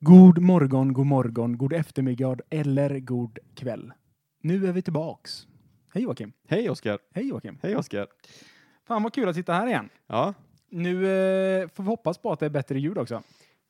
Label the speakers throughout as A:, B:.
A: God morgon, god morgon, god eftermiddag eller god kväll. Nu är vi tillbaks. Hej Joakim.
B: Hej Oskar!
A: Hej Joakim.
B: Hej Oskar!
A: Fan vad kul att sitta här igen.
B: Ja,
A: Nu eh, får vi hoppas på att det är bättre ljud också.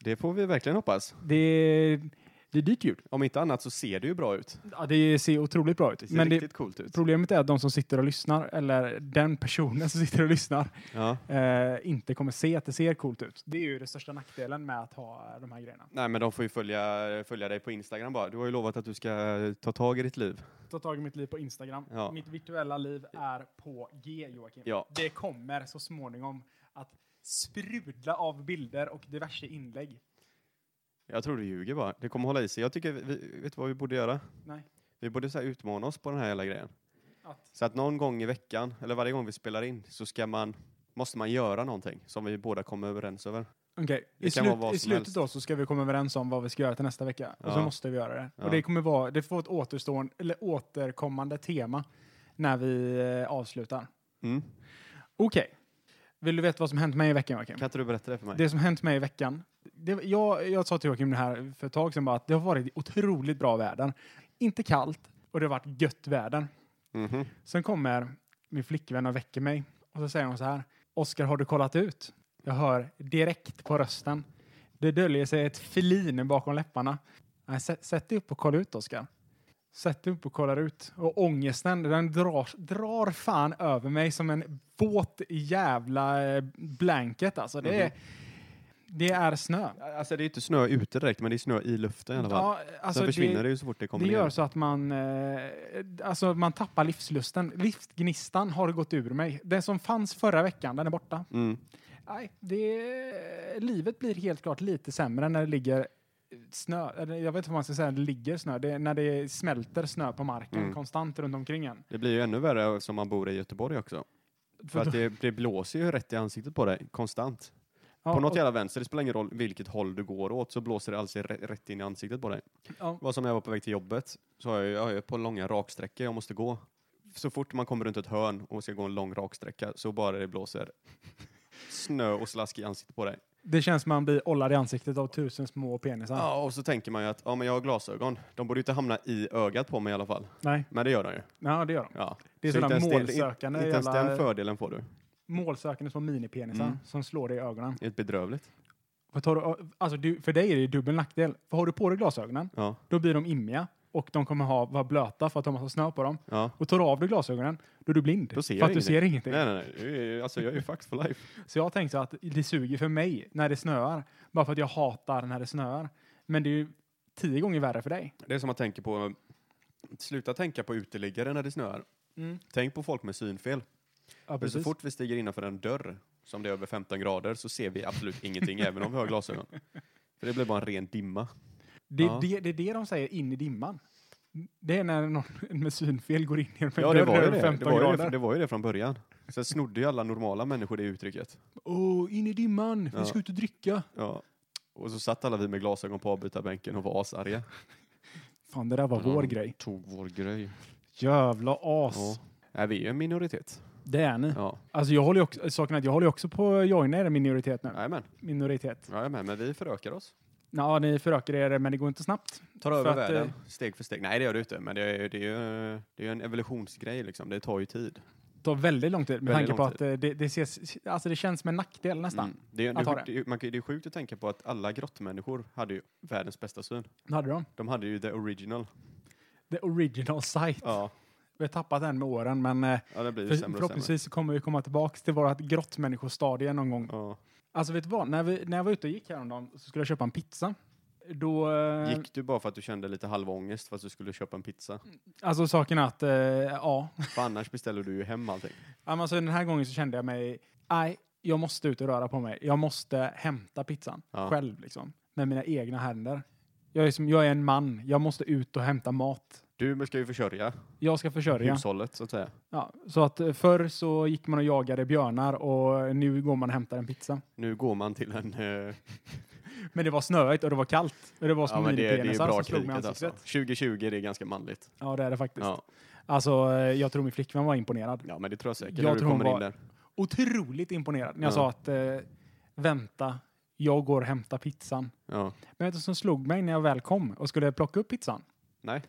B: det får vi verkligen hoppas.
A: Det är, det är dyrt ljud.
B: Om inte annat så ser det ju bra ut.
A: Ja, det ser otroligt bra ut.
B: Det ser
A: Men det,
B: riktigt coolt ut.
A: problemet är att de som sitter och lyssnar, eller den personen som sitter och lyssnar,
B: Ja.
A: eh, inte kommer se att det ser coolt ut. Det är ju den största nackdelen med att ha de här grejerna.
B: Nej, men de får ju följa, följa dig på Instagram bara. Du har ju lovat att du ska ta tag i ditt liv.
A: Ta tag i mitt liv på Instagram.
B: Ja.
A: Mitt virtuella liv är på G, Joakim.
B: Ja.
A: Det kommer så småningom att sprudla av bilder och diverse inlägg.
B: Jag tror du ljuger bara. Det kommer hålla i sig. Jag tycker, vi, vet du vad vi borde göra?
A: Nej.
B: Vi borde så här utmana oss på den här hela grejen.
A: Att,
B: Så att någon gång i veckan, eller varje gång vi spelar in, så ska man, måste man göra någonting som vi båda kommer överens över.
A: okay.
B: Det
A: I,
B: kan vara
A: slut,
B: vad
A: I
B: som
A: slutet
B: helst.
A: då så ska vi komma överens om vad vi ska göra till nästa vecka. Och så
B: Ja.
A: måste vi göra det.
B: Ja.
A: Och det kommer vara, det får vara ett återstående, eller återkommande tema när vi eh, avslutar.
B: Mm.
A: Okej. Vill du veta vad som hänt mig i veckan, Joakim?
B: Kan inte du berätta det för mig?
A: Det som hänt mig i veckan. Det, jag, jag sa till Joakim det här för ett tag sedan bara att det har varit otroligt bra väder. Inte kallt och det har varit gött väder.
B: Mhm.
A: Sen kommer min flickvän och väcker mig och så säger hon så här. Oskar, har du kollat ut? Jag hör direkt på rösten. Det döljer sig ett felin bakom läpparna. Nej, sä- sätt dig upp och kolla ut, Oskar. Sätt dig upp och kollar ut. Och ångesten, den drar, drar fan över mig som en våt jävla eh, blanket. Alltså, det, är,
B: Mhm.
A: det är snö.
B: Alltså det är inte snö ute direkt, men det är snö i luften i alla fall.
A: Ja, alltså,
B: Sen försvinner det,
A: det
B: ju så fort det kommer
A: det
B: ner.
A: gör så att man, eh, alltså man tappar livslusten. Livsgnistan har gått ur mig. Den som fanns förra veckan, den är borta.
B: Mm.
A: Nej, det, livet blir helt klart lite sämre när det ligger snö. Eller Jag vet inte vad man ska säga, det ligger snö. Det, är när det smälter snö på marken
B: Mm.
A: konstant runt omkring en.
B: Det blir ju ännu värre som man bor i Göteborg också. För att det, det blåser ju rätt i ansiktet på dig, konstant.
A: Ja,
B: på något
A: och-
B: jävla vänster, det spelar ingen roll vilket håll du går åt, så blåser det alltid rä- rätt in i ansiktet på dig.
A: ja.
B: Vad som när jag var på väg till jobbet, så har jag, ju- jag har ju på långa raksträckor jag måste gå. Så fort man kommer runt ett hörn och ska gå en lång raksträcka, så bara det blåser snö och slask i ansiktet på dig.
A: Det känns som man blir ollad i ansiktet av tusen små penisar.
B: Ja, och så tänker man ju att, ja men jag har glasögon, de borde ju inte hamna i ögat på mig i alla fall.
A: Nej,
B: Men det gör de ju.
A: ja, det gör de.
B: Ja.
A: Det är
B: Så
A: sådana
B: inte ens det-
A: målsökande
B: Inte ens den
A: jävla,
B: fördelen får du.
A: målsökande små minipenisar
B: Mm.
A: som slår dig i ögonen.
B: Det är bedrövligt.
A: För, tar du, alltså du, för dig är det ju dubbel nackdel. För har du på dig glasögonen,
B: Ja,
A: då blir de immiga och de kommer ha, vara blöta för att de har massa snö på dem.
B: ja.
A: Och tar du av dig glasögonen, då är du blind.
B: Då ser
A: för
B: jag
A: att du ser ingenting.
B: Nej, nej, nej. Det är ju- Alltså, jag är ju fucked for life.
A: Så jag tänkte så att det suger för mig när det snöar. Bara för att jag hatar när det snöar. Men det är ju tio gånger värre för dig.
B: Det är som att tänka på... Sluta tänka på uteliggare när det snöar. Tänk på folk med synfel.
A: Ja,
B: För Mm. så
A: precis.
B: fort vi stiger innanför en dörr som det är över 15 grader så ser vi absolut ingenting, även om vi har glasögon. För det blir bara en ren dimma.
A: det,
B: Ja.
A: det, det är det de säger in i dimman. Det är när någon med synfel går in genom en
B: Ja, det
A: dörr
B: var ju
A: över
B: det. Det
A: 15
B: var ju det,
A: grader.
B: det, var ju det från början. Sen snodde ju alla normala människor det uttrycket.
A: Åh, in i dimman!
B: Ja.
A: Vi ska ut och dricka.
B: Ja. Och så satt alla vi med glasögon på avbytarbänken och var asarga.
A: Fan, det där var vår
B: Ja,
A: grej.
B: Tog vår grej.
A: Jävla as.
B: Ja. Nej, vi är ju en minoritet.
A: Det är ni.
B: Ja.
A: Alltså jag håller ju också, saken är att jag håller ju också på att joina er minoritet nu.
B: Jajamän.
A: Minoritet.
B: Jajamän, men vi förökar oss.
A: Ja, ni förökar er, men det går inte snabbt.
B: Tar
A: För
B: över
A: att,
B: världen
A: eh,
B: steg för steg. Nej, det gör det inte, men det är, det är, ju- det är ju en evolutionsgrej liksom. Det tar ju tid.
A: Det tar väldigt lång tid med tanke
B: Väldigt
A: på
B: lång
A: att eh, det, det, ses, alltså det känns som en nackdel nästan.
B: Mm. Det, är,
A: Jag
B: det, är
A: tar
B: sjukt-
A: det.
B: det är- man, kan- det är sjukt att tänka på att alla grottmänniskor hade ju världens bästa syn.
A: Hade de?
B: De hade ju the original.
A: The original sight.
B: Ja,
A: Vi har tappat den med åren, men eh,
B: ja det blir
A: för,
B: ju sämre och sämre.
A: förhoppningsvis så kommer vi komma tillbaka till vårt grottmänniskostadie någon gång.
B: Ja.
A: Alltså vet du vad? När, vi, när jag var ute och gick häromdagen så skulle jag köpa en pizza. Då, eh,
B: Gick du bara för att du kände lite halvångest för att du skulle köpa en pizza?
A: Alltså saken är att, eh, ja.
B: För annars beställer du ju hem allting.
A: Ja, men Alltså, den här gången så kände jag mig, nej, jag måste ut och röra på mig. Jag måste hämta pizzan
B: Ja.
A: själv, liksom, med mina egna händer. Jag är, som, jag är en man, jag måste ut och hämta mat.
B: Du ska ju försörja
A: Jag ska försörja.
B: hushållet så att säga.
A: Ja, så att eh, förr så gick man och jagade björnar och nu går man och hämtar en pizza.
B: Nu går man till en... eh,
A: Men det var snöigt och det var kallt. Och det var små
B: ja, men det, det är ju
A: minipenisar
B: bra
A: som slog mig i
B: kriget
A: ansiktet.
B: alltså. 2020, det är ganska manligt.
A: Ja, det är det faktiskt.
B: Ja.
A: Alltså, eh, jag tror min flickvän var imponerad.
B: ja, men det tror jag säkert.
A: Jag
B: när du
A: tror hon
B: kommer in
A: var-
B: där.
A: Otroligt imponerad när jag
B: Ja.
A: sa att eh, vänta, jag går och hämtar pizzan.
B: Ja.
A: Men vet du vad som slog mig när jag väl kom och skulle plocka upp pizzan?
B: Nej.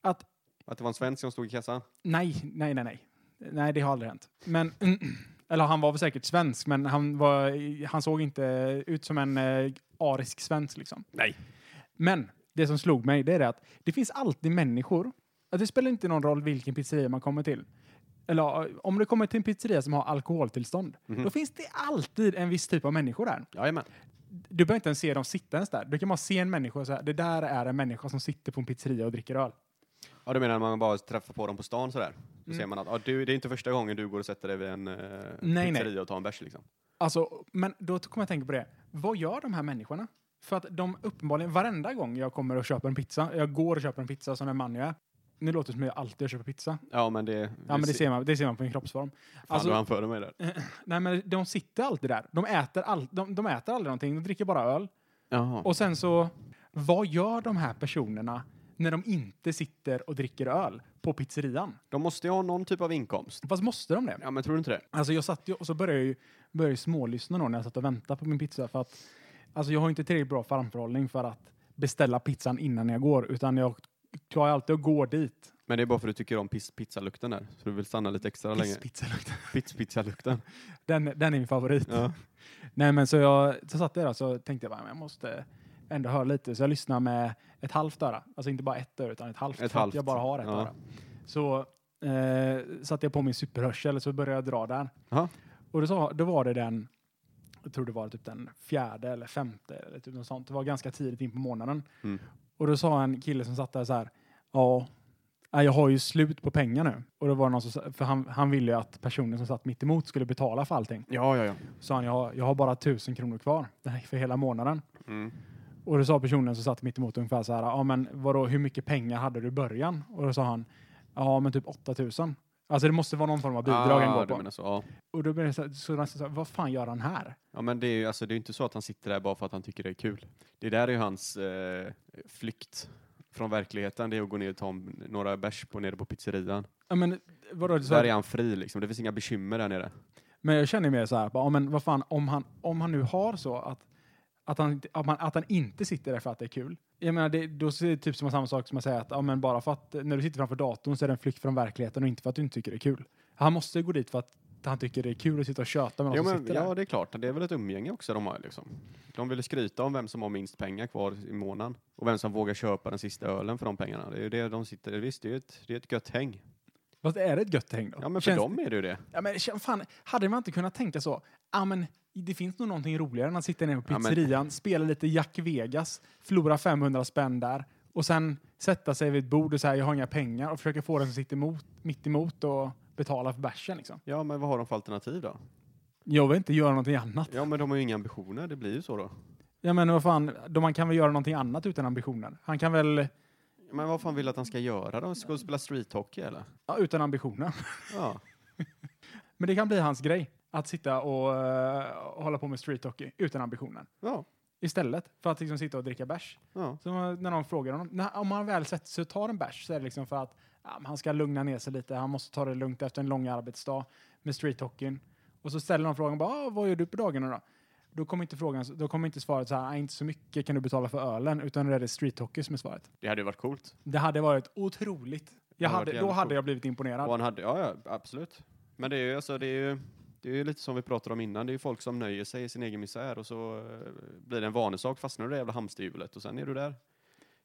A: Att-
B: Att det var en svensk som stod i kassan?
A: Nej, nej, nej, nej. Nej, det har aldrig hänt. Men, eller han var väl säkert svensk, men han, var, han såg inte ut som en eh, arisk svensk liksom.
B: Nej.
A: Men det som slog mig, det är det att det finns alltid människor. Att det spelar inte någon roll vilken pizzeria man kommer till. Eller eh, om du kommer till en pizzeria som har alkoholtillstånd, då finns det alltid en viss typ av människor där.
B: Jajamän.
A: Du behöver inte ens se dem sitta ens där. Du kan bara se en människa och säga, det där är en människa som sitter på en pizzeria och dricker öl.
B: Ja, du menar när man bara träffar på dem på stan sådär? Då
A: Mm.
B: ser man att ah, du, det är inte första gången du går och sätter dig vid en eh,
A: nej.
B: pizzeria och tar en bärs liksom.
A: Alltså, men då kommer jag tänka på det. Vad gör de här människorna? För att de uppenbarligen, varenda gång jag kommer och köper en pizza, jag går och köper en pizza som den man jag är. Nu låter det som att jag alltid köper pizza.
B: Ja, men det...
A: Ja, men det ser man, det ser man på min kroppsform.
B: Fan,
A: Alltså-
B: du hann före mig där.
A: Nej, men de sitter alltid där. De äter, all, de, de äter aldrig någonting, de dricker bara öl.
B: Jaha.
A: Och sen så, vad gör de här personerna när de inte sitter och dricker öl på pizzerian?
B: De måste ju ha någon typ av inkomst.
A: Fast måste de det?
B: Ja, men tror du inte det?
A: Alltså jag satt ju, och så började jag ju började ju smålyssna då när jag satt och väntade på min pizza för att alltså jag har inte tillräckligt bra framförhållning för att beställa pizzan innan jag går utan jag tar ju alltid och går dit.
B: Men det är bara för att du tycker om piss pizzalukten där, så du vill stanna lite extra länge.
A: Pisspizzalukten.
B: Piss pizzalukten.
A: Den, den är min favorit.
B: Ja.
A: Nej men så jag så satt jag där och så tänkte jag bara, "Men jag måste ändå höra lite så jag lyssnar med ett halvt öra. Alltså inte bara ett öra utan ett halvt.
B: Ett
A: för att
B: halvt.
A: Jag bara har ett
B: Ja.
A: öra. Så eh, satte jag på min superhörsel och så började jag dra där.
B: Jaha.
A: Och då, sa, då var det den, jag tror det var typ den fjärde eller femte eller typ något sånt. Det var ganska tidigt in på månaden.
B: Mm.
A: Och då sa en kille som satt där så här, ja, nej, jag har ju slut på pengar nu. Och då var det någon som, sa- för han, han ville ju att personen som satt mitt emot skulle betala för allting.
B: Ja, ja, ja.
A: Så sa han, jag, har- jag har bara tusen kronor kvar Nej, för hela månaden.
B: Mm.
A: Och då sa personen som satt mitt emot ungefär så här, ja men vadå, hur mycket pengar hade du i början? Och då sa han, ja men typ 8000. Alltså det måste vara någon form av bidrag han går
B: Ah, du
A: på.
B: menar så. Ja.
A: Och då blev det så, här- så nästan så här, vad fan gör han här?
B: ja, men det är ju alltså, det är ju inte så att han sitter där bara för att han tycker det är kul. Det där är ju hans eh, flykt från verkligheten, det är att gå ner och ta en- några bärs på nere på pizzerian.
A: Ja, men, vadå, så,
B: Där är han fri liksom, det finns inga bekymmer där nere.
A: men jag känner mer så här, bara, ja, men vad fan, om han, om han nu har så att, att, han, inte- att, man, att han inte sitter där för att det är kul. Jag menar, det, då är det typ som samma sak som att säga att ja, men bara för att eh, när du sitter framför datorn så är det en flykt från verkligheten och inte för att du inte tycker det är kul. Han måste gå dit för att han tycker det är kul att sitta och köta med någon
B: Jo,
A: som
B: men,
A: sitter
B: ja,
A: där.
B: det är klart. Det är väl ett umgänge också de har liksom. De ville skryta om vem som har minst pengar kvar i månaden och vem som vågar köpa den sista ölen för de pengarna. Det är ju det de sitter... Visst, det är ju ett, det är ett gött häng.
A: Fast är det ett gött häng då?
B: Ja, men för
A: Känns-
B: dem är det ju det.
A: Ja, men känn- fan, hade man inte kunnat tänka så? Ja, men det finns nog någonting roligare än att sitta nere på
B: Ja, men-
A: pizzerian, spela lite Jack Vegas, förlora 500 spänn där och sen sätta sig vid ett bord och säga jag har inga pengar och försöka få den som sitter emot, mitt emot och betala för bärsen. Liksom.
B: Ja, men vad har de för alternativ då?
A: Jag vill inte göra någonting annat.
B: Ja, men de har ju inga ambitioner. Det blir ju så då.
A: Jag menar, vad fan, då man kan väl göra någonting annat utan ambitioner? Han kan väl,
B: Men vad fan vill att han ska göra då? Ska han spela streethockey eller?
A: ja, utan ambitioner.
B: Ja.
A: Men det kan bli hans grej, att sitta och eh, hålla på med street hockey utan ambitioner.
B: Ja.
A: Istället för att liksom sitta och dricka bärs.
B: Ja.
A: Så när någon frågar honom, när, om han väl sätter sig och tar en bärs så är det liksom för att ja, men han ska lugna ner sig lite, han måste ta det lugnt efter en lång arbetsdag med streethockeyn. Och så ställer de frågan, bara, ah, vad gör du på dagarna då? Då kommer inte, frågan, då kommer inte svaret så här, "Ah, inte så mycket kan du betala för ölen, utan då är det streethockey som är svaret.
B: Det hade ju varit coolt.
A: Det hade varit otroligt. Jag
B: hade
A: hade, då
B: varit jävligt
A: hade
B: coolt.
A: jag blivit
B: Och
A: imponerad.
B: han hade, ja, ja, absolut. Men det är ju, alltså, det är ju, det är ju lite som vi pratade om innan. Det är ju folk som nöjer sig i sin egen misär och så eh, blir det en vanesak. Fastnar du i det jävla hamsterhjulet och sen är du där.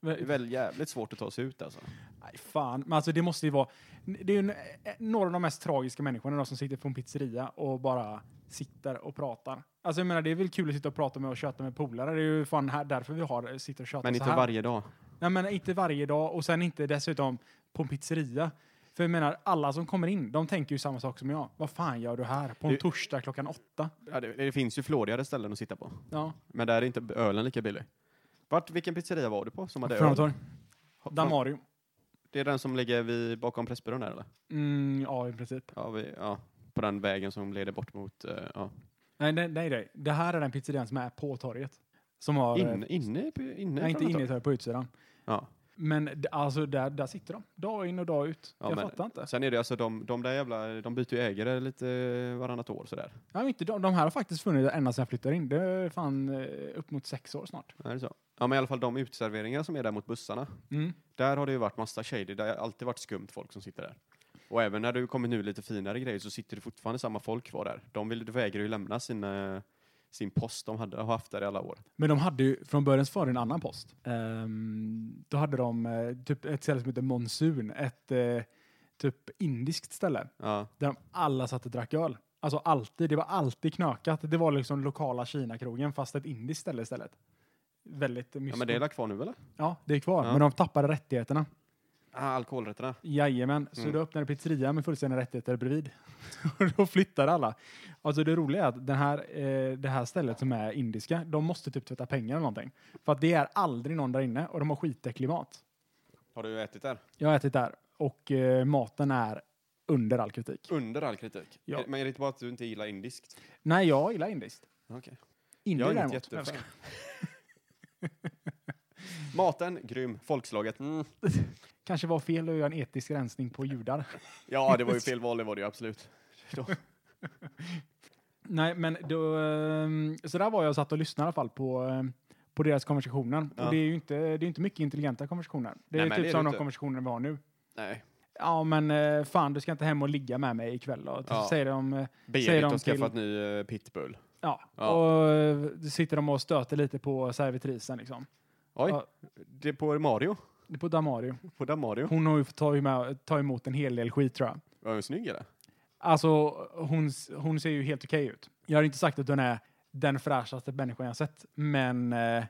B: Det är väl jävligt svårt att ta sig ut alltså.
A: Nej, fan. Men alltså det måste ju vara... Det är ju n- eh, några av de mest tragiska människorna då, som sitter på en pizzeria och bara sitter och pratar. Alltså jag menar, det är väl kul att sitta och prata med och köta med polare. Det är ju fan här, därför vi har eh, sitter och tjötar
B: Men
A: så
B: inte
A: här.
B: varje dag.
A: Nej, men inte varje dag och sen inte dessutom på en pizzeria. För jag menar, alla som kommer in, de tänker ju samma sak som jag. Vad fan gör du här på en
B: Det-
A: torsdag klockan åtta?
B: Ja, det, det finns ju flådigare ställen att sitta på.
A: Ja,
B: Men där är inte ölen lika billig. Vart, vilken pizzeria var du på som hade öl?
A: Frömmetorg.
B: Ha-
A: Damario.
B: Det är den som ligger vid, bakom Pressbyrån där eller?
A: Mm, ja, i princip.
B: Ja, vi, ja, på den vägen som leder bort mot... eh, ja.
A: Nej, nej, nej, nej. Det här är den pizzerian som är på torget. Som har... eh,
B: inne, inne, på-
A: Nej,
B: inne på
A: inte inne
B: något
A: i
B: håll.
A: torget, på utsidan.
B: Ja.
A: Men d- alltså där, där sitter de, dag in och dag ut.
B: Ja,
A: jag
B: men-
A: fattar inte.
B: Sen är det alltså de, de där jävla, de byter ju ägare lite eh, varannat år sådär.
A: Ja, men inte de, de här har faktiskt funnits ända sedan jag flyttade in. Det är fan eh, upp mot sex år snart.
B: Är det så? Ja men i alla fall de uteserveringar som är där mot bussarna.
A: Mm.
B: Där har det ju varit massa shady, det har alltid varit skumt folk som sitter där. Och även när du kommer nu lite finare grejer så sitter det fortfarande samma folk kvar där. De vill, de vägrar ju lämna sin, eh, sin post de hade, har haft där i alla år.
A: Men de hade ju från början så var det en annan post. Ehm, då hade de eh, typ ett ställe som heter Monsun, ett eh, typ indiskt ställe
B: Ja,
A: där de alla satt och drack öl. Alltså alltid, det var alltid knökat. Det var liksom lokala Kina-krogen fast ett indiskt ställe istället. Väldigt mysigt.
B: ja men det är väl kvar nu eller?
A: Ja, det är kvar,
B: Ja.
A: men de tappade rättigheterna.
B: Ah, alkoholrätterna.
A: Jajamän, så
B: Mm.
A: då öppnade pizzeria med fullständiga rättigheter bredvid. och då flyttade alla. Alltså det roliga är att den här, eh, det här stället som är indiska, de måste typ tvätta pengar eller någonting. För att det är aldrig någon där inne och de har skitäcklig mat.
B: Har du ätit där?
A: Jag har ätit där och eh, maten är under all kritik.
B: Under all kritik.
A: Ja.
B: Är- Men är det inte bara att du inte gillar indiskt?
A: Nej, jag gillar indiskt.
B: Okej.
A: Indier
B: Jag är inget
A: däremot.
B: jättefan. Maten, grym. Folkslaget, mm.
A: Kanske var fel att göra en etisk rensning på judar.
B: Ja, det var ju fel val, det var det ju absolut.
A: Nej, men då, ehm, så där var jag och satt och lyssnade i alla fall på, ehm, på deras konversationer.
B: Ja.
A: Och det är ju inte, det är inte mycket intelligenta konversationer. Det är
B: Nej,
A: ju
B: men
A: typ
B: det är
A: som
B: det
A: de
B: inte.
A: konversationer vi har nu.
B: Nej.
A: Ja, men eh, fan, du ska inte hem och ligga med mig ikväll. då.
B: Ja.
A: Så säger de, eh, Säger
B: Berit
A: de
B: har
A: till-
B: skaffat ny eh, pitbull.
A: ja.
B: Ja.
A: Och eh, sitter de och stöter lite på servitrisen liksom.
B: Oj,
A: Ja.
B: det är på Mario.
A: Det är På Damario.
B: På Damario.
A: Hon har ju fått ta, med, ta emot en hel del skit tror jag.
B: Var hon snygg eller?
A: Alltså, hon, s- hon ser ju helt okej ut. Jag har inte sagt att hon är den fräschaste människan jag har sett, men eh,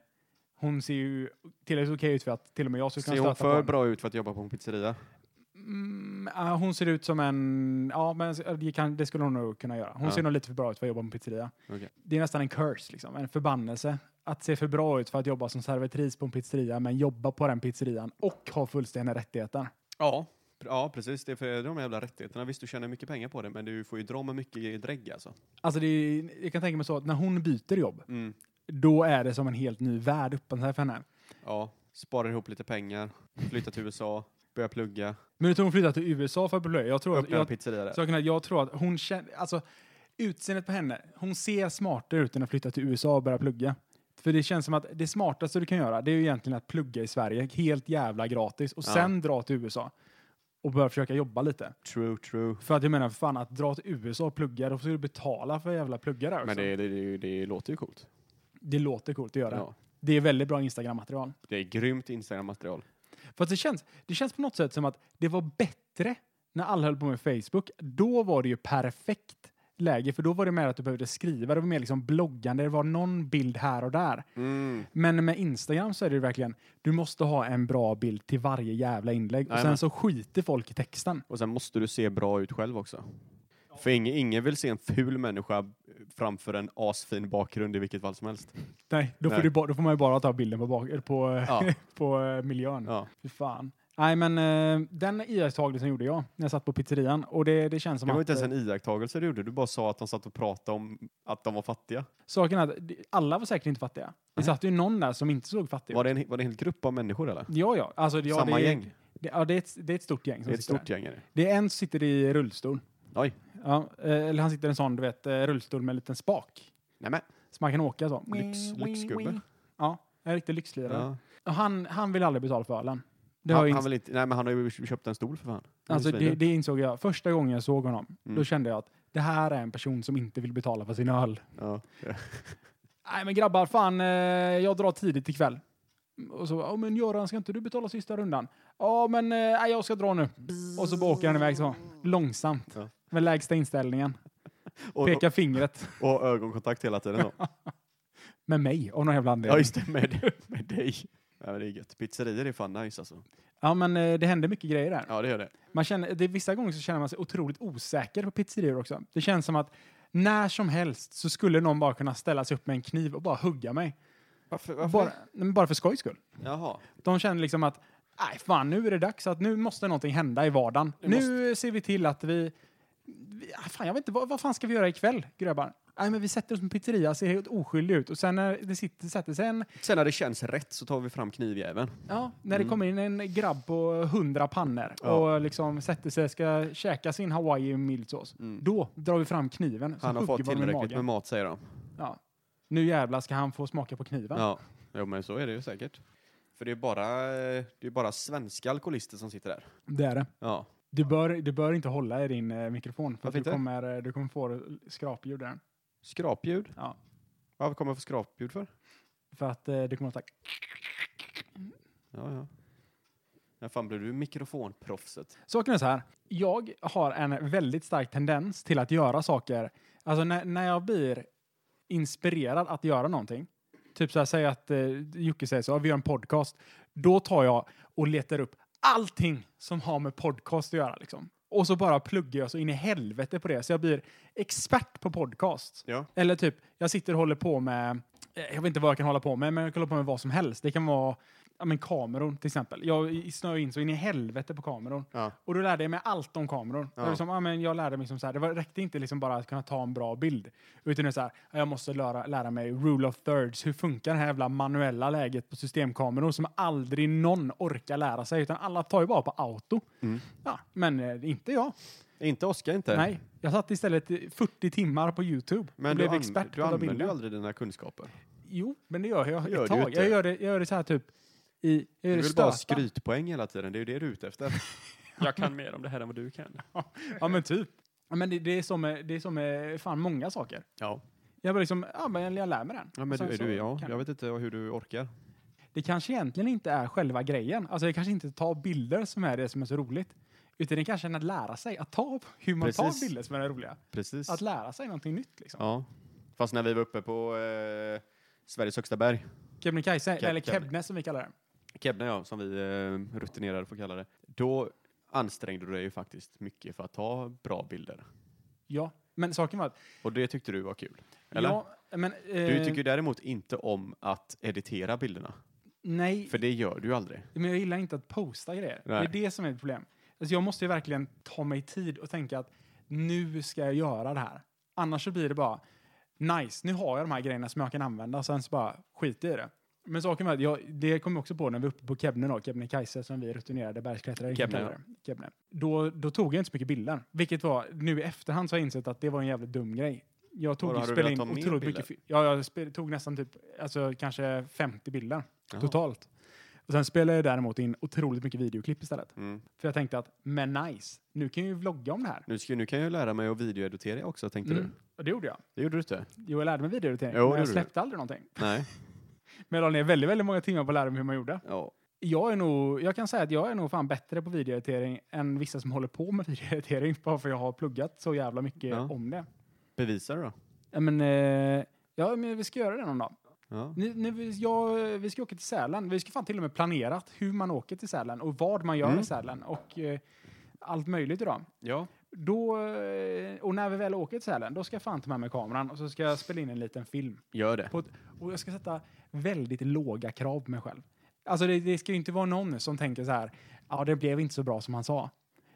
A: hon ser ju tillräckligt okej ut för att till och med jag skulle kunna
B: Ser hon
A: stöta på
B: för
A: henne.
B: bra ut för att jobba på en pizzeria?
A: Mm, ja, hon ser ut som en... Ja, men det, kan, det skulle hon nog kunna göra. Hon
B: Ja.
A: ser nog lite för bra ut för att jobba på en pizzeria.
B: Okej.
A: Det är nästan en curse, liksom, en förbannelse. Att se för bra ut för att jobba som servitris på en pizzeria, men jobba på den pizzerian och ha fullständiga rättigheter.
B: Ja. Ja, precis. Det är för de jävla rättigheterna. Visst, du tjänar mycket pengar på det, men du får ju dra med mycket drägg alltså.
A: Alltså, det är, jag kan tänka mig så att när hon byter jobb,
B: Mm.
A: då är det som en helt ny värld öppen sig för henne.
B: Ja. Sparar ihop lite pengar, flyttar till USA, börjar plugga,
A: Men jag tror hon flyttade till USA för att bli blöja. Jag tror att,
B: öppnar en
A: jag,
B: pizzeria där.
A: saken är att jag tror att hon känner, alltså utseendet på henne, hon ser smartare ut än att flytta till USA och börja plugga. För det känns som att det smartaste du kan göra, det är ju egentligen att plugga i Sverige helt jävla gratis och
B: Ja.
A: sen dra till USA och börja försöka jobba lite.
B: True, true.
A: För att jag menar, för fan att dra till USA och plugga, då får du betala för jävla plugga där också.
B: Men
A: det,
B: det, det, det, det låter ju coolt.
A: låter coolt att göra.
B: Ja.
A: Det är väldigt bra Instagram-material.
B: Det är grymt Instagram-material.
A: För att det känns, det känns på något sätt som att det var bättre när alla höll på med Facebook. Då var det ju perfekt läge, för då var det mer att du behövde skriva, det var mer liksom bloggande, det var någon bild här och där.
B: Mm.
A: Men med Instagram så är det ju verkligen, du måste ha en bra bild till varje jävla inlägg och sen
B: Jajamän.
A: så skiter folk i texten.
B: Och sen måste du se bra ut själv också. För ingen, ingen vill se en ful människa framför en asfin bakgrund i vilket fall som helst.
A: Nej, då, Får,
B: Nej.
A: du ba, då får man ju bara ta bilden på, bak, eller på,
B: Ja.
A: på eh, miljön.
B: Ja.
A: Fy fan. Nej, men eh, den iakttagelsen gjorde jag när jag satt på pizzerian och det, det känns som
B: Det var
A: att...
B: inte ens
A: eh,
B: en iakttagelse du gjorde, du bara sa att de satt och pratade om att de var fattiga.
A: Saken är att det- alla var säkert inte fattiga. Det
B: Nej.
A: satt ju någon där som inte såg fattig
B: Var
A: ut.
B: det en, var det en hel grupp av människor eller?
A: Ja, ja. Alltså, ja
B: Samma
A: det, är-
B: gäng?
A: Det, ja, det är, ett, det är ett stort gäng
B: Det
A: som
B: är ett
A: sitter
B: stort
A: där.
B: gäng är det.
A: Det är en som sitter i rullstol.
B: Oj.
A: Ja, eh, eller han sitter i en sån, du vet, eh, rullstol med en liten spak.
B: Nej, men.
A: Så man kan åka så.
B: Lyx- lyxgubbe.
A: Ja, en riktig lyxlirare.
B: Ja.
A: Och han, han vill aldrig betala för ölen. Det, har jag
B: Han, han
A: ins-
B: vill inte, nej men han har ju köpt en stol för fan. är
A: alltså,
B: svindyr.
A: det, det insåg jag första gången jag såg honom.
B: Mm.
A: Då kände jag att det här är en person som inte vill betala för sin öl.
B: Ja. Ja.
A: Nej men grabbar, fan eh, jag drar tidigt ikväll. Och så, ja men Göran ska inte du betala sista rundan? Ja men eh, nej, jag ska dra nu. Och så bara åker han iväg så, långsamt.
B: Ja.
A: Med lägsta inställningen.
B: Och, och,
A: Pekar fingret
B: och ögonkontakt hela tiden då.
A: med mig av någon jävla anledning.
B: ja just det, med, med dig. Ja, men det är gött. Pizzerior är fan nice alltså.
A: Ja men eh, det händer mycket grejer där.
B: Ja det gör det.
A: Man känner, det, är vissa gånger så känner man sig otroligt osäker på pizzerior också. Det känns som att när som helst så skulle någon bara kunna ställa sig upp med en kniv och bara hugga mig.
B: Varför?
A: Bara, nej, men bara för skojs skull.
B: Jaha.
A: De känner liksom att nej, fan, nu är det dags. att Nu måste någonting hända i vardagen.
B: Det
A: nu ser vi till att vi... vi ah, fan, jag vet inte, vad, vad fan ska vi göra ikväll, grabbar? Nej, men vi sätter oss på en pizzeria, ser helt oskyldig ut. Och sen när det sitter, sätter sig en,
B: Sen när det känns rätt så tar vi fram knivjäveln.
A: ja, när det
B: Mm.
A: kommer in en grabb på hundra pannor
B: Ja.
A: och liksom sätter sig, ska käka sin hawaii mildsås.
B: Mm.
A: Då drar vi fram kniven. så
B: Han har
A: hugger vi
B: fått
A: honom i
B: tillräckligt
A: magen.
B: med mat säger de.
A: Ja. Nu jävlar ska han få smaka på kniven.
B: Ja, jo, men så är det ju säkert. För det är bara, eh, det är bara svenska alkoholister som sitter där.
A: Det är det.
B: Ja,
A: Du bör, du bör inte hålla i din eh, mikrofon för att
B: Varför
A: du
B: inte?
A: kommer, eh, du kommer få skrapljud där.
B: skrapljud.
A: Ja.
B: Varför kommer jag få skrapljud för?
A: För att eh, det kommer att...
B: Ja, ja. När fan blev du mikrofonproffset?
A: Saken är så här. Jag har en väldigt stark tendens till att göra saker. Alltså när, när jag blir inspirerad att göra någonting. Typ så här, säg att eh, Jocke säger så, "Ja, vi gör en podcast. Då tar jag och letar upp allting som har med podcast att göra liksom. Och så bara pluggar jag så in i helvete på det. Så jag blir expert på podcast.
B: Ja.
A: Eller typ, jag sitter och håller på med, eh, jag vet inte vad jag kan hålla på med, men jag kan hålla på med vad som helst. Det kan vara ja, men kameror till exempel. Jag snöar in så in i helvete på kameror.
B: Ja.
A: Och då lärde jag mig allt om kameror.
B: Ja.
A: Jag, liksom, ja, men jag lärde mig liksom så här, det var, räckte inte liksom bara att kunna ta en bra bild. Utan det är så här, jag måste lära, lära mig rule of thirds. Hur funkar det här jävla manuella läget på systemkameror som aldrig någon orkar lära sig. Utan alla tar ju bara på auto.
B: Mm.
A: Ja, men eh, inte jag.
B: Inte Oskar inte.
A: Nej, jag satt istället i 40 timmar på Youtube
B: Men
A: och
B: du,
A: blev
B: an-
A: expert
B: du
A: på alla
B: använder
A: bilder.
B: ju aldrig dina kunskaper.
A: Jo, men det gör jag
B: Gör
A: ett
B: du
A: tag.
B: inte.
A: Jag gör, det, jag gör det så här typ i... Jag
B: Du
A: gör det
B: vill bara ha
A: stöta.
B: skrytpoäng hela tiden, det är ju det du är ute efter. Jag kan mer om det här än vad du kan.
A: Ja, men typ. Ja, Men det, det är som med, det är som med fan många saker.
B: Ja,
A: Jag bara liksom, ja men jag lär mig den.
B: ja
A: Och
B: men
A: sen
B: du,
A: så
B: du, ja,
A: kan-
B: jag vet inte hur du orkar.
A: Det kanske egentligen inte är själva grejen. Alltså det kanske inte ta bilder som är det som är så roligt. Utan det kanske är att lära sig att ta hur man
B: Precis.
A: tar bilder som är det roliga.
B: Precis.
A: Att lära sig någonting nytt liksom.
B: Ja. Fast när vi var uppe på eh, Sveriges högsta berg,
A: Kebnekaise,
B: Keb-
A: eller
B: Keb-
A: Kebne som vi kallar det.
B: Kebne ja, som vi eh, rutinerade får kalla det, då ansträngde du dig ju faktiskt mycket för att ta bra bilder.
A: Ja, men saken var att...
B: Och det tyckte du var kul, eller?
A: Ja, men, eh,
B: Du tycker ju däremot inte om att editera bilderna,
A: Nej,
B: för det gör du ju aldrig.
A: Men jag gillar inte att posta grejer.
B: Nej.
A: Det är det som är ett problem. Alltså jag måste ju verkligen ta mig tid och tänka att nu ska jag göra det här. Annars så blir det bara nice, nu har jag de här grejerna som jag kan använda. Sen så bara skit i det. Men saken var att jag, det kom jag också på när vi var uppe på Kebne då, Kebnekaise som vi rutinerade bergsklättrare
B: Kebne,
A: kallar det. Kebne. Då, då tog jag inte så mycket bilder, vilket var, nu i efterhand så har jag insett att det var en jävligt dum grej. Jag tog
B: Vadå,
A: ju
B: har du
A: spela in
B: velat ta mer
A: otroligt
B: bilder?
A: mycket, fi- ja jag spel, tog nästan typ, alltså kanske 50 bilder
B: Jaha.
A: totalt. Och sen spelade jag däremot in otroligt mycket videoklipp istället.
B: Mm.
A: För jag tänkte att, men nice, nu kan jag ju vlogga om det här.
B: Nu, ska, nu kan jag ju lära mig att videoeditera också, tänkte
A: Mm.
B: du.
A: Och det gjorde jag.
B: Det gjorde du inte?
A: Jo, jag lärde mig videoeditering,
B: Jo, det
A: men jag
B: gjorde du.
A: släppte aldrig någonting.
B: Nej.
A: Men jag la ner väldigt, väldigt många timmar på att lära mig hur man gjorde.
B: Ja.
A: Jag är nog, jag kan säga att jag är nog fan bättre på videoeditering än vissa som håller på med videoeditering, bara för jag har pluggat så jävla mycket
B: Ja.
A: om det.
B: Bevisa det då.
A: Ja, men, eh, ja, men vi ska göra det någon dag.
B: Ja.
A: Ni, ni, vi- jag, vi ska åka till Sälen. Vi ska fan till och med planerat hur man åker till Sälen och vad man gör
B: Mm.
A: i Sälen och eh, allt möjligt idag.
B: ja.
A: Då, eh, och när vi väl åker till Sälen, då ska jag fan ta med mig kameran och så ska jag spela in en liten film.
B: Gör det.
A: På ett, och jag ska sätta väldigt låga krav på mig själv. Alltså det, det ska ju inte vara någon som tänker så här, ja det blev inte så bra som han sa.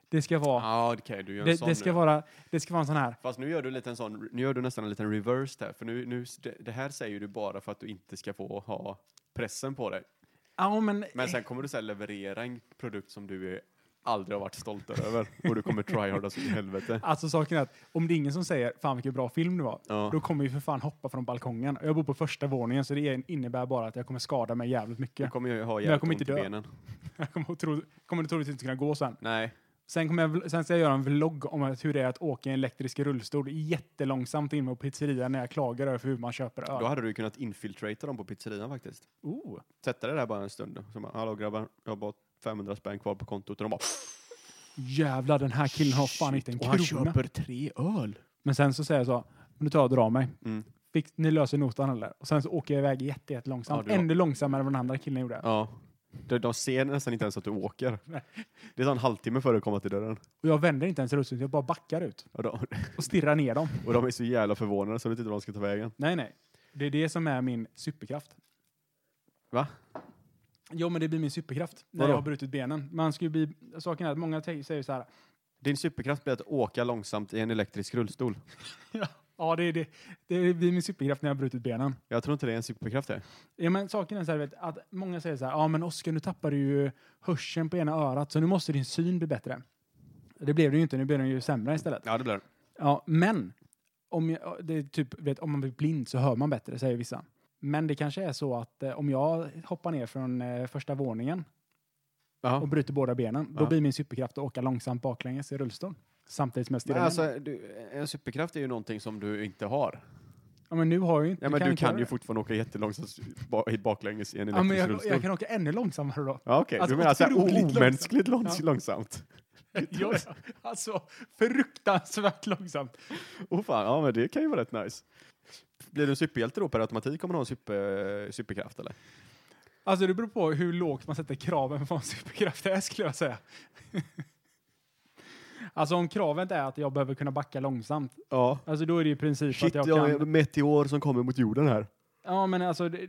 A: Det ska vara,
B: Ja, det kan ju du göra en
A: det,
B: sån
A: det ska
B: nu.
A: vara, det ska vara en sån här,
B: Fast nu gör du lite en sån, nu gör du nästan en liten reverse där, för nu, nu, det, det här säger du bara för att du inte ska få ha pressen på dig.
A: ja men,
B: Men sen kommer du sen leverera en produkt som du är- aldrig har varit stolt över och du kommer tryharda så in i helvete.
A: Alltså saken är att om det är ingen som säger fan vilken bra film det var,
B: Ja.
A: då kommer vi för fan hoppa från balkongen. Och Jag bor på första våningen så det innebär bara att jag kommer skada mig jävligt
B: Du
A: mycket.
B: kommer ju ha
A: Men jag
B: jävligt
A: kommer
B: ont i
A: inte dö.
B: benen.
A: Jag kommer, otro, kommer troligtvis inte kunna gå sen.
B: Nej,
A: Sen, kommer jag, vl- sen ska jag göra en vlogg om att- hur det är att åka i en elektrisk rullstol jättelångsamt in på pizzerian när jag klagar över hur man köper
B: då
A: öl.
B: hade du ju kunnat infiltrata dem på pizzerian faktiskt.
A: Oh.
B: Sätta dig där bara en stund. och Så bara, Hallå grabbar, jag har bara 500 spänn kvar på kontot. Och de bara,
A: Jävlar, den här killen har fan inte en
B: och han
A: krona.
B: köper tre öl.
A: Men sen så säger jag så, nu tar jag och drar mig.
B: Mm.
A: Fix, ni löser notan eller? Och sen så åker jag iväg jätte, jätte långsamt.
B: Ja, du har-
A: Ännu långsammare än vad den andra killen gjorde.
B: Ja. De, de ser nästan inte ens att du åker.
A: Nej.
B: Det är så en halvtimme före att komma till dörren.
A: Och jag vänder inte ens rullstolen, jag bara backar ut
B: Och de,
A: och stirrar ner dem.
B: och de är så jävla förvånade så de vet inte vad de ska ta vägen.
A: Nej, nej. Det är det som är min superkraft.
B: Va?
A: Jo, men det blir min superkraft när
B: Vadå?
A: jag har brutit benen. Man ska ju bli, saken är att många te- säger så här.
B: Din superkraft blir att åka långsamt i en elektrisk rullstol.
A: Ja. Ja, det, är det, det blir min superkraft när jag har brutit benen.
B: Jag tror inte det är en superkraft det.
A: Ja, men saken är så här, vet, att många säger så här, ja men Oskar nu tappar du ju hörseln på ena örat så nu måste din syn bli bättre. Det blev det ju inte, nu blev den ju sämre istället.
B: Ja, det blir det.
A: Ja, men om, jag, det är typ, vet, om man blir blind så hör man bättre, säger vissa. Men det kanske är så att eh, om jag hoppar ner från eh, första våningen och
B: Jaha.
A: bryter båda benen, då
B: Ja.
A: blir min superkraft att åka långsamt baklänges i rullstol. Samtidigt som jag
B: Men
A: stirrar alltså,
B: alltså, du, en superkraft är ju någonting som du inte har.
A: Ja, men nu har jag ju inte...
B: Ja, men
A: jag
B: du
A: inte
B: kan
A: göra
B: ju
A: det.
B: fortfarande åka jättelångsamt ba- i- baklänges i en
A: Ja,
B: elektrisk
A: men jag,
B: rullstol.
A: jag kan åka ännu långsammare då.
B: Ja, okej.
A: Alltså,
B: du menar alltså
A: otroligt
B: omänskligt lång-
A: långsamt.
B: långsamt?
A: Ja, ja. alltså, fruktansvärt långsamt.
B: Åh fan, ja men det kan ju vara rätt nice. Blir du superhjälte då per automatik om du har en super, eh, superkraft eller?
A: Alltså, det beror på hur lågt man sätter kraven på en superkraft är, skulle jag säga. alltså, om kravet är att jag behöver kunna backa långsamt,
B: Ja.
A: alltså då är det ju i princip att
B: Shit,
A: jag
B: jag har
A: kan...
B: en meteor som kommer mot jorden här.
A: Ja, men alltså, det,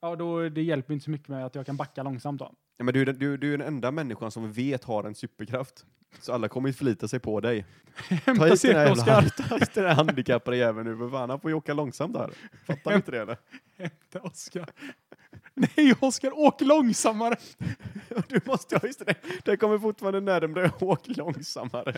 A: ja, då, det hjälper inte så mycket med att jag kan backa långsamt då.
B: Ja, men du, är den- du, du är den enda människan som vet har en superkraft. Så alla kommer ju förlita sig på dig. Ta hit den här, jävla, ta hit den här handikappade jäveln nu för fan, han får ju åka långsamt här. Fattar du inte det eller?
A: Hämta Oskar. Nej, Oskar, åk långsammare!
B: Du måste, ja just det, det kommer fortfarande närmare, åk långsammare.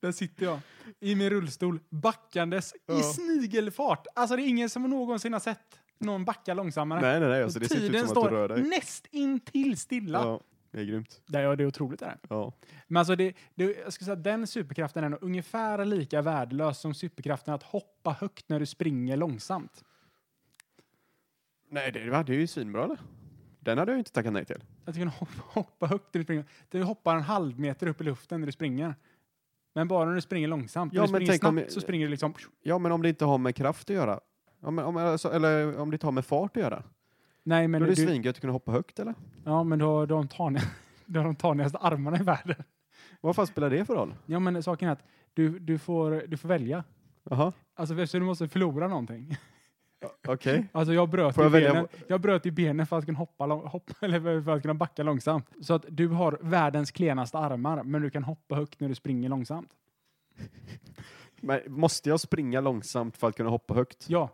A: Där sitter jag i min rullstol, backandes
B: Ja.
A: i snigelfart. Alltså det är ingen som någonsin har sett någon backa långsammare.
B: Nej, nej, nej, alltså, det ser inte ut
A: Tiden
B: som att du rör
A: står
B: dig.
A: näst intill stilla.
B: Ja, det är grymt.
A: Det, ja, det är otroligt det där.
B: Ja.
A: Men alltså det, det, jag skulle säga att den superkraften är nog ungefär lika värdelös som superkraften att hoppa högt när du springer långsamt.
B: Nej, det, va? det är ju svinbra eller? Den hade jag ju inte tackat nej till.
A: Att du kan hoppa, hoppa högt när du springer. Du hoppar en halv meter upp i luften när du springer. Men bara när du springer långsamt.
B: Ja,
A: när du
B: men
A: springer
B: tänk om-
A: snabbt så springer du liksom...
B: Ja, men om det inte har med kraft att göra? Om, om, alltså, eller om det inte har med fart att göra?
A: Nej, men
B: Då är det
A: du,
B: svingött att kunna hoppa högt eller?
A: Ja, men du har, du har, de, taniga, du har de tanigaste armarna i världen.
B: Vad fan spelar det för roll?
A: Ja, men saken är att du, du, får, du får välja.
B: Jaha,
A: Alltså, eftersom du måste förlora någonting.
B: okej.
A: Alltså, jag bröt,
B: Får
A: ju
B: jag välja-
A: benen, jag bröt ju benen för att kunna hoppa, lång- hoppa eller för att kunna backa långsamt. Så att du har världens klenaste armar, men du kan hoppa högt när du springer långsamt.
B: Men måste jag springa långsamt för att kunna hoppa högt?
A: Ja.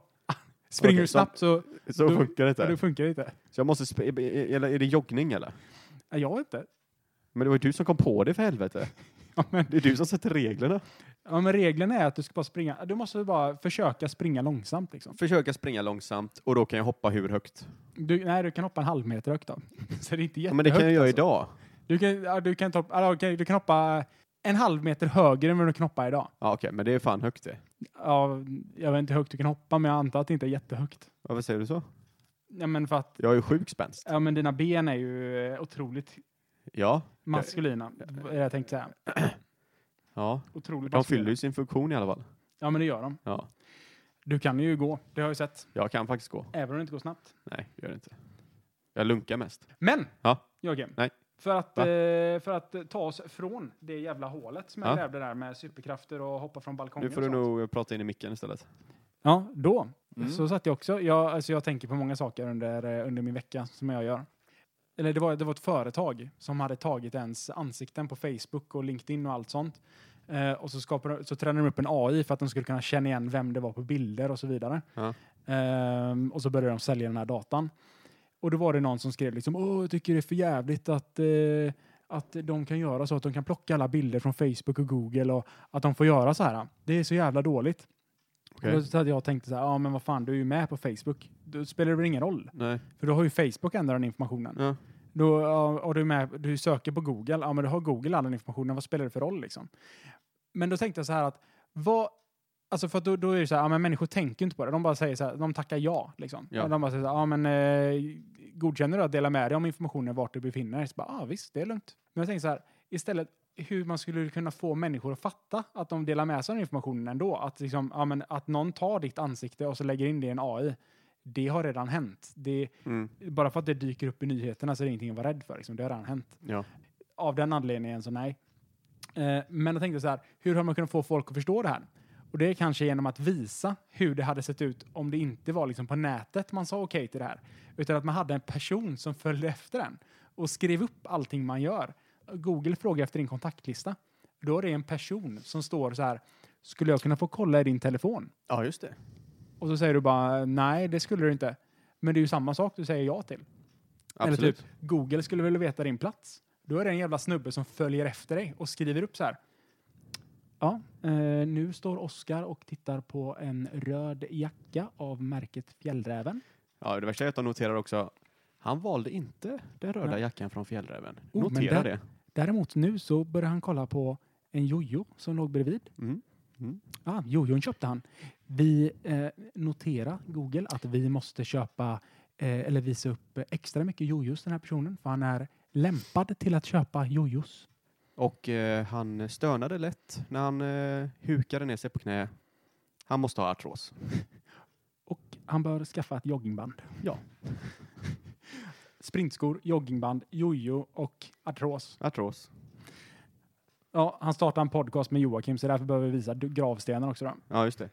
A: Springer
B: Okej,
A: du
B: så-
A: snabbt så,
B: Så
A: Du-
B: funkar det inte.
A: ja, det funkar det inte.
B: Så jag måste sp- eller är det joggning eller?
A: Nej, Jag vet inte.
B: Men det var ju du som kom på det för helvete.
A: Ja, men,
B: Det är du som sätter reglerna.
A: ja, men reglerna är att du ska bara springa. Du måste bara försöka springa långsamt. Liksom.
B: Försöka springa långsamt och då kan jag hoppa hur högt?
A: Du, nej, du kan hoppa en halv meter högt då. Så det är inte
B: Ja, men det kan jag
A: jättehögt,
B: göra
A: alltså.
B: idag.
A: Du kan, ja, du, kan ta, ja, okej, du kan hoppa en halv meter högre än vad du kan hoppa idag.
B: Ja, okej, men det är fan högt det.
A: Ja, jag vet inte hur högt du kan hoppa, men jag antar att det inte är jättehögt.
B: Varför säger du så?
A: Ja, men för att
B: Jag är ju sjuk spänst.
A: ja, men dina ben är ju eh, otroligt
B: Ja,
A: maskulina. är det Jag tänkte säga.
B: ja.
A: Otroligt
B: De
A: maskulina.
B: fyller ju sin funktion i alla fall.
A: Ja, men det gör de.
B: Ja,
A: Du kan ju gå, det har jag ju sett.
B: jag kan faktiskt gå.
A: Även om det inte går snabbt.
B: Nej, det gör det inte. Jag lunkar mest.
A: Men!
B: Ja.
A: Jörgen.
B: Nej.
A: För att,
B: Va?
A: eh, för att eh, ta oss från det jävla hålet som jag
B: Ja.
A: grävde där med superkrafter och hoppa från balkongen.
B: Nu får
A: och
B: du
A: sånt.
B: nog prata in i micken istället.
A: Ja, då.
B: Mm.
A: Så satt jag också. Jag, alltså jag tänker på många saker under, eh, under min vecka som jag gör. Eller det var, det var ett företag som hade tagit ens ansikten på Facebook och LinkedIn och allt sånt. Eh, och så, skapade, så tränade de upp en AI för att de skulle kunna känna igen vem det var på bilder och så vidare.
B: Ja.
A: Ehm, och så började de sälja den här datan. Och då var det någon som skrev liksom, åh, jag tycker det är för jävligt att, eh, att de kan göra så att de kan plocka alla bilder från Facebook och Google och att de får göra så här. Det är så jävla dåligt.
B: Okej.
A: Och då hade jag tänkt så här, ja men vad fan, du är ju med på Facebook. Då spelar det väl ingen roll?
B: Nej.
A: För då har ju Facebook ändå den informationen.
B: Ja.
A: Då, ja, och du, är med, du söker på Google, ja men då har Google all den informationen, vad spelar det för roll liksom? Men då tänkte jag så här att, vad, alltså för att då, då är det så här, ja men människor tänker ju inte på det, de bara säger så här, de tackar ja liksom.
B: Ja.
A: Och de bara säger så här, ja men eh, godkänner du att dela med dig om informationen vart du befinner dig? Så bara, ja ah, visst, det är lugnt. Men jag tänkte så här, istället hur man skulle kunna få människor att fatta att de delar med sig av den informationen ändå. Att, liksom, ja, men att någon tar ditt ansikte och så lägger in det i en AI. Det har redan hänt. Det,
B: Mm.
A: bara för att det dyker upp i nyheterna så är det ingenting att vara rädd för. Liksom. Det har redan hänt.
B: Ja.
A: Av den anledningen så nej. Eh, men jag tänkte så här, hur har man kunnat få folk att förstå det här? Och det är kanske genom att visa hur det hade sett ut om det inte var liksom på nätet man sa okej till det här. Utan att man hade en person som följde efter en och skrev upp allting man gör. Google frågar efter din kontaktlista. Då är det en person som står så här, skulle jag kunna få kolla i din telefon?
B: Ja, just det.
A: Och så säger du bara nej, det skulle du inte. Men det är ju samma sak du säger ja till. Eller
B: Absolut.
A: typ, Google skulle vilja veta din plats. Då är det en jävla snubbe som följer efter dig och skriver upp så här. Ja, eh, nu står Oskar och tittar på en röd jacka av märket Fjällräven.
B: Ja, det värsta är att de noterar också han valde inte den röda
A: Nej.
B: jackan från Fjällräven.
A: Oh, men
B: Notera
A: där-
B: det.
A: Däremot nu så börjar han kolla på en jojo som låg bredvid.
B: Mm.
A: Ja, ah, jojon köpte han. Vi eh, notera Google att vi måste köpa eh, eller visa upp extra mycket jojos den här personen för han är lämpad till att köpa jojos.
B: Och eh, han stönade lätt när han eh, hukade ner sig på knä. Han måste ha artros.
A: Och han bör skaffa ett joggingband.
B: Ja.
A: Sprintskor, joggingband, jojo och artros.
B: Artros.
A: Ja, han startar en podcast med Joakim så därför behöver vi visa du- gravstenar också. Då.
B: Ja, just det.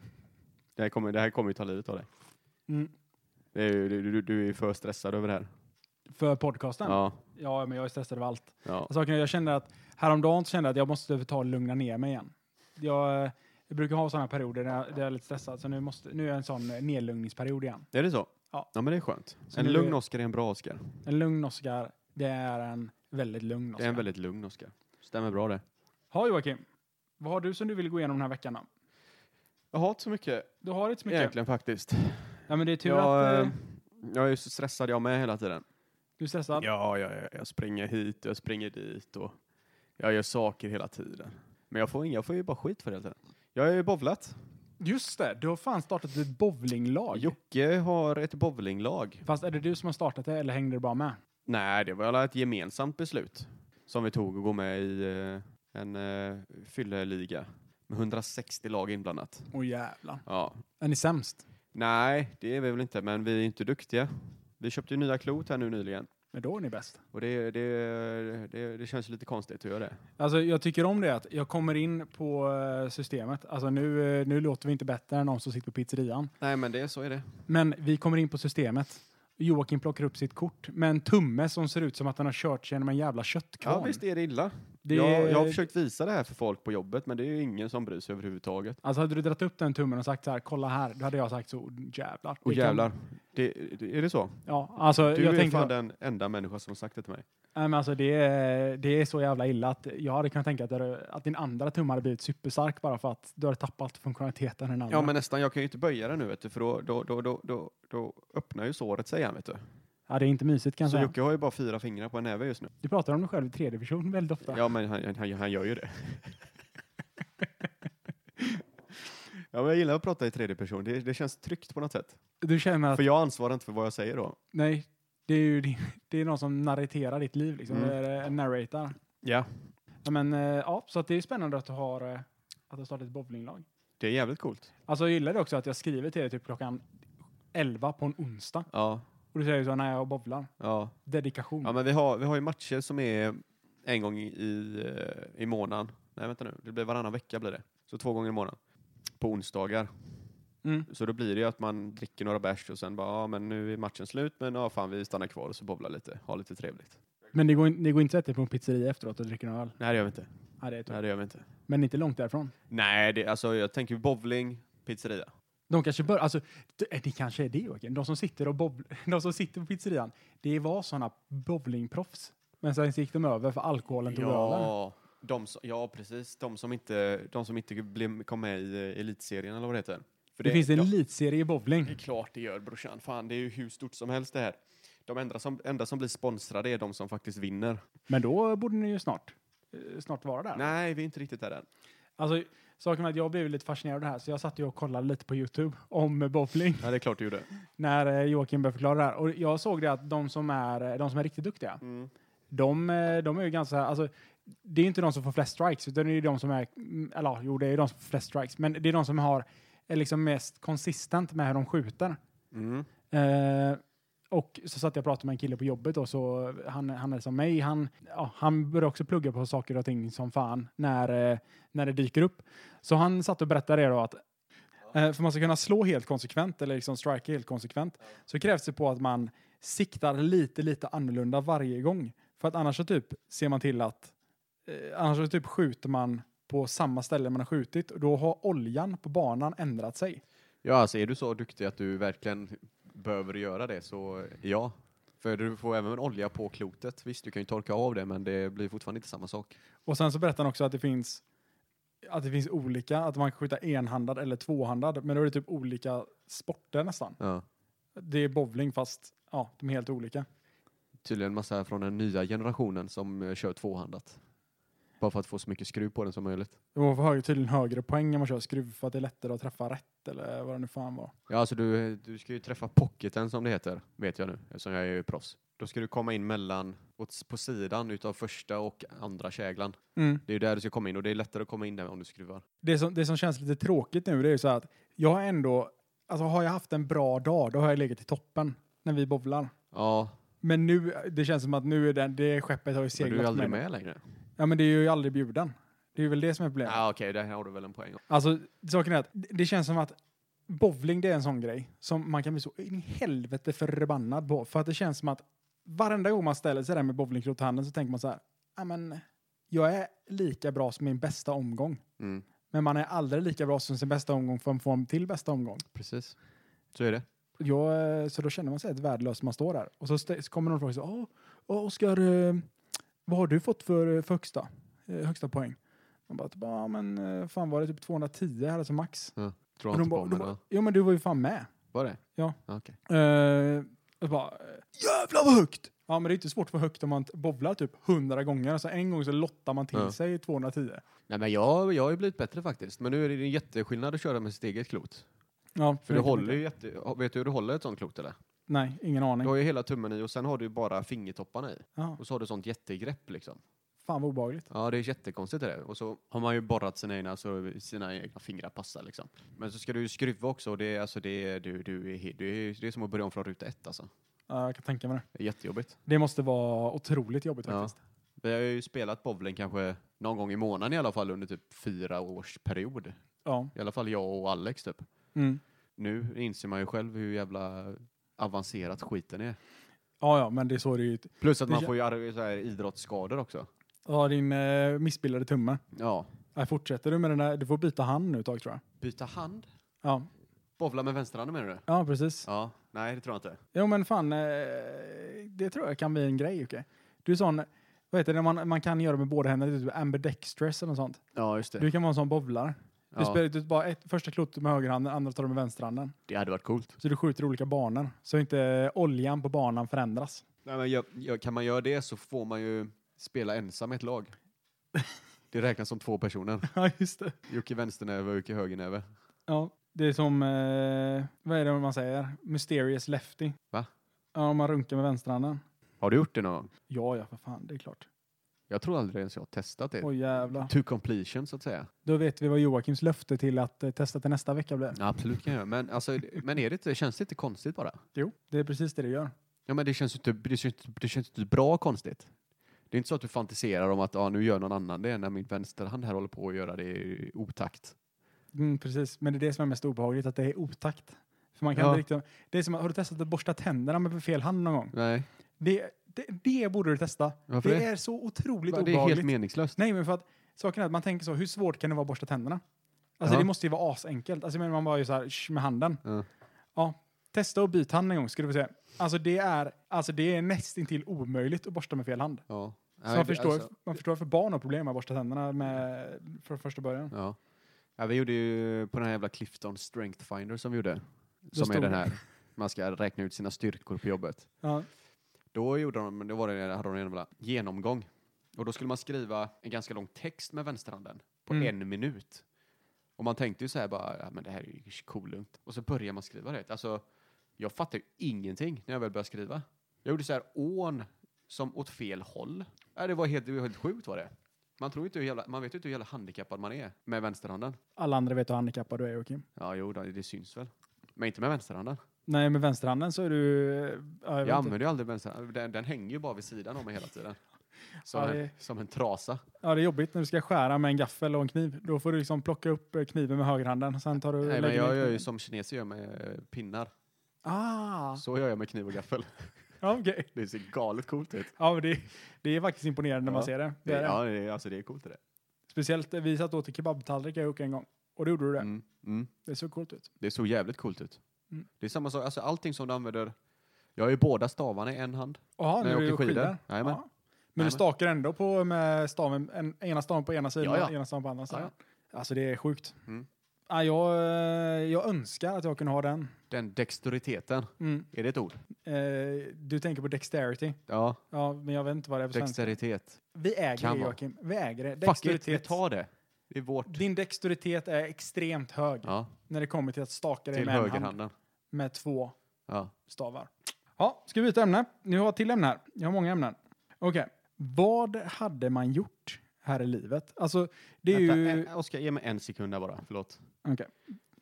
B: Det här kommer, det här kommer ju ta livet av dig.
A: Mm.
B: Det är ju- Du, du, du är ju för stressad över det här.
A: För podcasten?
B: Ja,
A: Ja, men jag är stressad av allt.
B: ja.
A: Saken är, jag kände att häromdagen så kände jag att jag måste ta och lugna ner mig igen. Jag, eh, jag brukar ha sådana perioder där jag, där jag är lite stressad, så nu, måste, nu är jag en sån eh, nedlugnningsperiod igen.
B: Är det så?
A: Ja.
B: men det är skönt.
A: Så
B: en
A: nu-
B: lugn Oscar är en bra Oscar.
A: En lugn Oscar, det är en väldigt lugn
B: Det
A: Oscar.
B: är en väldigt lugn Oscar. Stämmer bra det.
A: Ha Joakim, vad har du som du vill gå igenom den här veckan då?
B: Jag har inte så mycket,
A: Du har inte så mycket.
B: egentligen faktiskt.
A: Ja, men det är tur att...
B: Jag,
A: eh,
B: eh, jag är ju så stressad jag med hela tiden.
A: Du är stressad?
B: Ja, jag, jag- jag springer hit, jag springer dit och jag gör saker hela tiden. Men jag får, inga, jag får ju bara skit för det hela tiden. Jag har ju bowlat.
A: Just det, du har fan startat ett bowlinglag.
B: Jocke har ett bowlinglag.
A: Fast är det du som har startat det eller hängde du bara med?
B: Nej, det var väl ett gemensamt beslut som vi tog att gå med i eh, en eh, fylleliga med 160 lag inblandat.
A: Åh jävlar.
B: Ja.
A: Är ni sämst?
B: Nej, det är vi väl inte, men vi är inte duktiga. Vi köpte ju nya klot här nu nyligen
A: Men då är ni bäst.
B: och det, det, det, det känns ju lite konstigt att göra det.
A: Alltså jag tycker om det att jag kommer in på eh, systemet. Alltså nu, eh, nu låter vi inte bättre än någon som sitter på pizzerian.
B: Nej, men det, så är det.
A: Men vi kommer in på systemet. Joakim plockar upp sitt kort med en tumme som ser ut som att han har kört sig genom en jävla köttkvarn.
B: Ja, visst är det illa.
A: Det-
B: Jag, jag har försökt visa det här för folk på jobbet, men det är ju ingen som bryr sig överhuvudtaget.
A: Alltså hade du dragit upp den tummen och sagt så här, kolla här, då hade jag sagt så, jävlar.
B: Och
A: Det kan-
B: jävlar, det, det, är det så?
A: Ja, alltså
B: Du
A: jag
B: är
A: tänker
B: fan den enda människa som har sagt det till mig.
A: Nej, men alltså det, är, det är så jävla illa att jag hade kunnat tänka att, det, att din andra tumme hade blivit superstark bara för att du hade tappat funktionaliteten i den andra.
B: Ja, men nästan. Jag kan ju inte böja det nu, vet du, för då, då, då, då, då, då öppnar ju såret sig igen, vet du.
A: ja, det är inte mysigt kan jag
B: Så
A: säga.
B: Jocke har ju bara fyra fingrar på en näve just nu.
A: Du pratar om dig själv i tredje person väldigt ofta.
B: Ja, men han, han, han gör ju det. Ja, men jag gillar att prata i tredje person. Det, det känns tryggt på något sätt.
A: Du känner att,
B: För jag ansvarar inte för vad jag säger då.
A: nej, det är ju din- det är någon som narreterar ditt liv liksom,
B: Mm.
A: eller eh, narratar.
B: Ja.
A: Ja, men eh, ja, så att det är spännande att du har, eh, att du har startat ett bowlinglag.
B: Det är jävligt coolt.
A: Alltså jag gillar det också att jag skriver till dig typ klockan 11 på en onsdag
B: Ja.
A: och du säger så här, nej jag bowlar.
B: Ja.
A: Dedikation.
B: Ja, men vi har, vi har ju matcher som är en gång i, eh, i månaden. Nej, vänta nu. Det blir varannan vecka blir det. Så två gånger i månaden. På onsdagar.
A: Mm.
B: Så då blir det ju att man dricker några bärs och sen bara, ja men nu är matchen slut, men ja fan vi stannar kvar och så bowlar lite, ha lite trevligt.
A: Men det går, in- det går inte att sätta dig på en pizzeria efteråt och dricka en öl.
B: Nej det gör vi inte.
A: Ja, det är tufft.
B: Nej det gör vi inte.
A: Men inte långt därifrån.
B: Typ. Nej, det, alltså jag tänker bowling, pizzeria.
A: De kanske bör, alltså, det, det kanske är det Joakim. De som sitter, och bob, de som sitter på pizzerian, det var sådana bowlingproffs. Men sen gick de över för alkoholen tog över.
B: Ja, de som, ja precis, de som inte, de som inte blev, kom med i eh, elitserien eller vad det heter. För
A: Det, finns en
B: ja. Mm.
A: elitserie i bowling.
B: Det är klart det gör brorsan. Fan, det är ju hur stort som helst det här. De enda som, enda som blir sponsrade är de som faktiskt vinner.
A: Men då borde ni ju snart, eh, snart vara där.
B: Nej, vi är inte riktigt där än.
A: Alltså, saken är att jag blev lite fascinerad av det här, så jag satt ju och kollade lite på Youtube om eh, bowling
B: Ja, det är klart du gjorde.
A: när eh, Joakim började förklara det här. Och jag såg det att de som är, eh, de som är riktigt duktiga,
B: Mm.
A: De, eh, de är ju ganska, alltså, det är ju inte de som får flest strikes, utan det är ju de som är, mm, eller ja, jo det är ju de som får flest strikes, men det är de som har, är liksom mest konsistent med hur de skjuter.
B: Mm.
A: Eh, och så satt jag och pratade med en kille på jobbet och så han, han är som mig, han, ja, han började också plugga på saker och ting som fan när, eh, när det dyker upp. Så han satt och berättade det då att eh, för man ska kunna slå helt konsekvent eller liksom strika helt konsekvent så krävs det på att man siktar lite, lite annorlunda varje gång. För att annars så typ ser man till att, eh, annars så typ skjuter man på samma ställe man har skjutit och då har oljan på banan ändrat sig.
B: Ja, alltså är du så duktig att du verkligen behöver göra det så ja. För du får även olja på klotet. Visst, du kan ju torka av det, men det blir fortfarande inte samma sak.
A: Och sen så berättar han också att det finns att det finns olika, att man kan skjuta enhandad eller tvåhandad, men då är det typ olika sporter nästan.
B: Ja.
A: Det är bowling fast ja, de är helt olika.
B: Tydligen massa från den nya generationen som eh, kör tvåhandat. Bara för att få så mycket skruv på den som möjligt.
A: Man får hög- tydligen högre poäng när man kör skruv för att det är lättare att träffa rätt eller vad det nu fan var.
B: Ja, alltså du, du ska ju träffa pocketen som det heter, vet jag nu, eftersom jag är ju proffs. Då ska du komma in mellan, åt, på sidan utav första och andra käglan. Det är ju där du ska komma in och det är lättare att komma in där om du skruvar.
A: det som, det som känns lite tråkigt nu det är ju så här att jag har ändå, alltså har jag haft en bra dag då har jag legat i toppen när vi bowlar.
B: Ja,
A: Men nu, det känns som att nu är den, det skeppet har ju
B: men
A: seglat
B: du är ju aldrig med längre.
A: Ja men det är ju aldrig bjuden. Det är väl det som är problemet.
B: Ja, okej, där har du väl en poäng.
A: Alltså saken är att det- det känns som att bowling det är en sån grej som man kan bli så in i helvete förbannad på. För att det känns som att varenda gång man ställer sig där med bowlingklot i handen så tänker man så här, ja men jag är lika bra som min bästa omgång.
B: Mm,
A: Men man är aldrig lika bra som sin bästa omgång för att få en till bästa omgång.
B: precis. Så är det.
A: Jag, eh, så då känner man sig helt värdelös när man står där. Och så, stä- så kommer någon fråga så här, "Ja, Oskar, eh, vad har du fått för, eh, för högsta, eh, högsta poäng? Man bara, typ, ja men eh, fan var det typ 210 här som max?
B: Tror
A: Och
B: jag
A: de
B: inte
A: bara,
B: på,
A: de
B: men
A: bara,
B: ja.
A: jo men du var ju fan med.
B: Var det?
A: Ja.
B: Ja, Okej.
A: Eh, och bara, eh, jävlar vad högt! Ja men det är inte svårt för högt om man t- bowlar typ 100 gånger. Alltså en gång så lottar man till
B: Ja.
A: sig 210.
B: Nej, men jag, jag har ju blivit bättre faktiskt. Men nu är det en jätteskillnad att köra med sitt eget klot.
A: Ja,
B: För du håller ju jätte... Vet du hur du håller ett sånt klot eller?
A: Nej, ingen aning.
B: Du har ju hela tummen i och sen har du ju bara fingertopparna i.
A: Ja,
B: Och så har du sånt jättegrepp liksom.
A: fan vad obehagligt.
B: Ja, det är jättekonstigt det där. Och så har man ju borrat sina egna, så sina egna fingrar passar liksom. Men så ska du ju skruva också och det är, alltså, det är, du, du är, he- du är, det är som att börja om från ruta ett alltså.
A: Ja, jag kan tänka mig det.
B: Det är jättejobbigt.
A: Det måste vara otroligt jobbigt
B: Ja.
A: faktiskt.
B: Vi har ju spelat bowling kanske någon gång i månaden i alla fall under typ fyra års period.
A: Ja.
B: I alla fall jag och Alex typ.
A: Mm.
B: Nu inser man ju själv hur jävla avancerat skiten är.
A: ja, ja, men det är så det är ju.
B: Plus att
A: Det
B: man
A: kä-
B: får ju ar- så här idrottsskador också.
A: Ja, din eh, missbildade tumme.
B: Ja.
A: Nej, fortsätter du med den där, du får byta hand nu ett tag tror jag.
B: Byta hand?
A: Ja,
B: Bowla med vänsterhanden menar du?
A: ja precis.
B: Ja. Nej, det tror jag inte.
A: Jo men fan, eh, det tror jag kan bli en grej Jocke. Du är sån, vad heter det, man, man kan göra med båda händerna, typ ambidextrous eller något sånt.
B: Ja, just
A: Du kan vara en sån bowlare. Du
B: Ja.
A: spelar du bara ett, första klotet med högerhanden, andra tar du med vänsterhanden.
B: Det hade varit coolt.
A: Så du skjuter olika banor, så inte oljan på banan förändras.
B: Nej, men jag, jag, kan man göra det så får man ju spela ensam i ett lag. Det räknas som två personer.
A: Ja, just det.
B: Jocke vänsternäve och Jocke högernäve.
A: Ja, det är som, eh, vad är det man säger? Mysterious lefty.
B: Va?
A: Ja, om man runkar med vänsterhanden.
B: Har du gjort det någon gång?
A: Ja, ja, för fan, det är klart.
B: Jag tror aldrig ens jag har testat det.
A: Åh jävlar.
B: To completion så att säga.
A: Då vet vi vad Joakims löfte till att eh, testa till nästa vecka blev.
B: Ja, absolut kan jag göra. Men, alltså, men är det inte, känns det inte konstigt bara?
A: Jo, det är precis det du gör.
B: Ja, men det känns ju inte, det känns, det känns inte bra konstigt. Det är inte så att du fantiserar om att ah, nu gör någon annan det när min vänsterhand här håller på att göra det i otakt.
A: Mm, precis, men det är det som är mest obehagligt, att det är otakt. För man kan
B: Ja.
A: inte riktigt, det är som att, har du testat att borsta tänderna med fel hand någon gång?
B: Nej,
A: Det, det, det borde du testa.
B: Varför
A: det,
B: det?
A: är så otroligt
B: Va, det är
A: obehagligt.
B: helt meningslöst.
A: Nej, men för att saken är att man tänker så, hur svårt kan det vara att borsta tänderna? Alltså
B: Ja.
A: det måste ju vara asenkelt. Alltså men man bara ju så här, "Sh", med handen.
B: Ja.
A: Ja, testa och byta hand en gång, skulle du få se. Alltså det är, alltså det är nästintill omöjligt att borsta med fel hand.
B: Ja.
A: Så man, förstår,
B: alltså-
A: man förstår varför barn har problem med att borsta tänderna med, från första början.
B: ja. ja, vi gjorde ju på den här jävla Clifton Strength Finder som vi gjorde.
A: Då
B: Som är
A: stod
B: den
A: det.
B: här, man ska räkna ut sina styrkor på jobbet.
A: Ja.
B: Då gjorde de, men då var det, hade de en jävla genomgång. Och då skulle man skriva en ganska lång text med vänsterhanden på
A: Mm.
B: en minut. Och man tänkte ju så här bara, ja, men det här är ju kolugnt. Och så börjar man skriva det. Alltså, jag fattar ju ingenting när jag väl började skriva. Jag gjorde så här ån som åt fel håll. Ja, det, var helt, det var helt sjukt var det. Man, tror inte hur jävla, man vet ju inte hur jävla handikappad man är med vänsterhanden.
A: Alla andra vet hur handikappad du är, Joakim.
B: Ja, jo, då, det syns väl. Men inte med vänsterhanden.
A: Nej, med vänsterhanden så är du... eh, Ja, jag
B: Jag,
A: vet inte.
B: använder ju aldrig vänsterhanden. Den, den hänger ju bara vid sidan om mig hela tiden. Som,
A: Ja,
B: en,
A: det-
B: som en trasa.
A: ja, det är jobbigt när du ska skära med en gaffel och en kniv. Då får du liksom plocka upp eh, kniven med högerhanden. och Sen tar du...
B: Nej, men
A: lägger ner
B: jag gör ju
A: kniven.
B: som kineser gör med eh, pinnar.
A: Ah!
B: Så gör jag med kniv och gaffel.
A: Ja, okej.
B: Det ser galet coolt ut.
A: Ja, men det, det är faktiskt imponerande när man
B: Ja.
A: ser det. det,
B: Det,
A: är det.
B: ja, det, är- alltså det är coolt det.
A: Speciellt, eh, vi satt och åt kebabtallrik jag och Jocke en gång. Och då gjorde du det.
B: Mm. Mm.
A: Det såg coolt ut.
B: Det såg jävligt coolt ut.
A: Mm.
B: Det är samma sak, alltså allting som du använder. Jag har ju båda stavarna i en hand.
A: Jaha,
B: när
A: nu
B: jag
A: är
B: åker
A: det
B: skidor.
A: skidor.
B: Jajamän.
A: Ja. Men du
B: Jajamän.
A: stakar ändå på med staven, en, ena staven på ena sidan
B: Ja, ja.
A: och ena staven på andra sidan.
B: Ja,
A: Alltså det är sjukt.
B: Mm.
A: Ja, jag, eh, jag önskar att jag kunde ha den.
B: Den dexteriteten,
A: Mm.
B: är det ett ord?
A: Eh, du tänker på dexterity.
B: Ja,
A: Ja, men jag vet inte vad det är på svenska.
B: dexteritet.
A: Vi äger
B: Kan
A: det
B: vara.
A: Joakim. Vi äger det.
B: Fuck it, vi
A: Dexteritet.
B: tar det. Det är vårt.
A: Din dexteritet är extremt hög
B: Ja,
A: när det kommer till att staka dig
B: till
A: med en hand
B: högerhanden.
A: med två
B: Ja.
A: stavar. Ja, ska vi byta ämne? Nu har jag till ämne här. Jag har många ämnen. Okej. Vad hade man gjort här i livet? Alltså, det är
C: Vänta,
A: ju...
C: en- Eh, Oskar, ge mig en sekund där bara. Förlåt.
A: okej.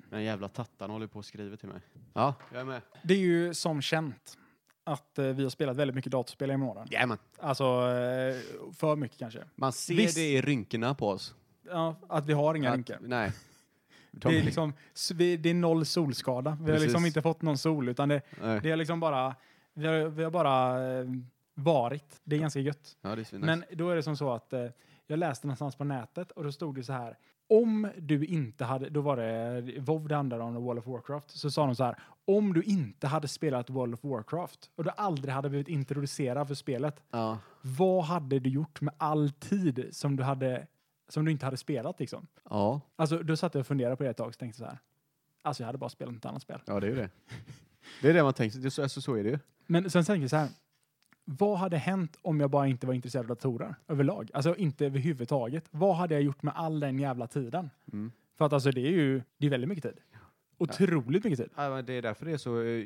C: Den jävla tattan håller på och skriver till mig.
B: Ja.
C: Jag är med.
A: Det är ju som känt att eh, vi har spelat väldigt mycket datorspel genom åren.
B: Jajamän.
A: Alltså, eh, för mycket kanske.
B: Man ser
A: Visst.
B: det i rynkorna på oss.
A: Ja, att vi har inga
B: Att-
A: rynkor.
B: Nej.
A: Det
B: De,
A: är, liksom, s- vi, det är noll solskada. Vi har
B: Precis.
A: liksom inte fått någon sol, utan det,
B: nej.
A: det är liksom bara... Vi har, vi har bara eh, varit. Det är ganska gött.
B: Ja, det är svinnice.
A: Men då är det som så att eh, jag läste någonstans på nätet och då stod det så här. Om du inte hade, då var det eh, WoW det handlade om, och World of Warcraft, så sa de så här. Om du inte hade spelat World of Warcraft och du aldrig hade blivit introducerad för spelet,
B: ja.
A: vad hade du gjort med all tid som du, hade, som du inte hade spelat liksom?
B: Ja.
A: Alltså, då satt jag och funderade på det ett tag och tänkte så här. Alltså, jag hade bara spelat ett annat spel.
B: ja, det är ju det. Det är det man tänker. Det är så, alltså, så är det ju.
A: Men sen tänker jag så här. Vad hade hänt om jag bara inte var intresserad av datorer överlag? Alltså inte överhuvudtaget. Vad hade jag gjort med all den jävla tiden?
B: Mm.
A: För att alltså det är ju, det är väldigt mycket tid. Otroligt mycket tid.
B: Ja, men det är därför det är så eh,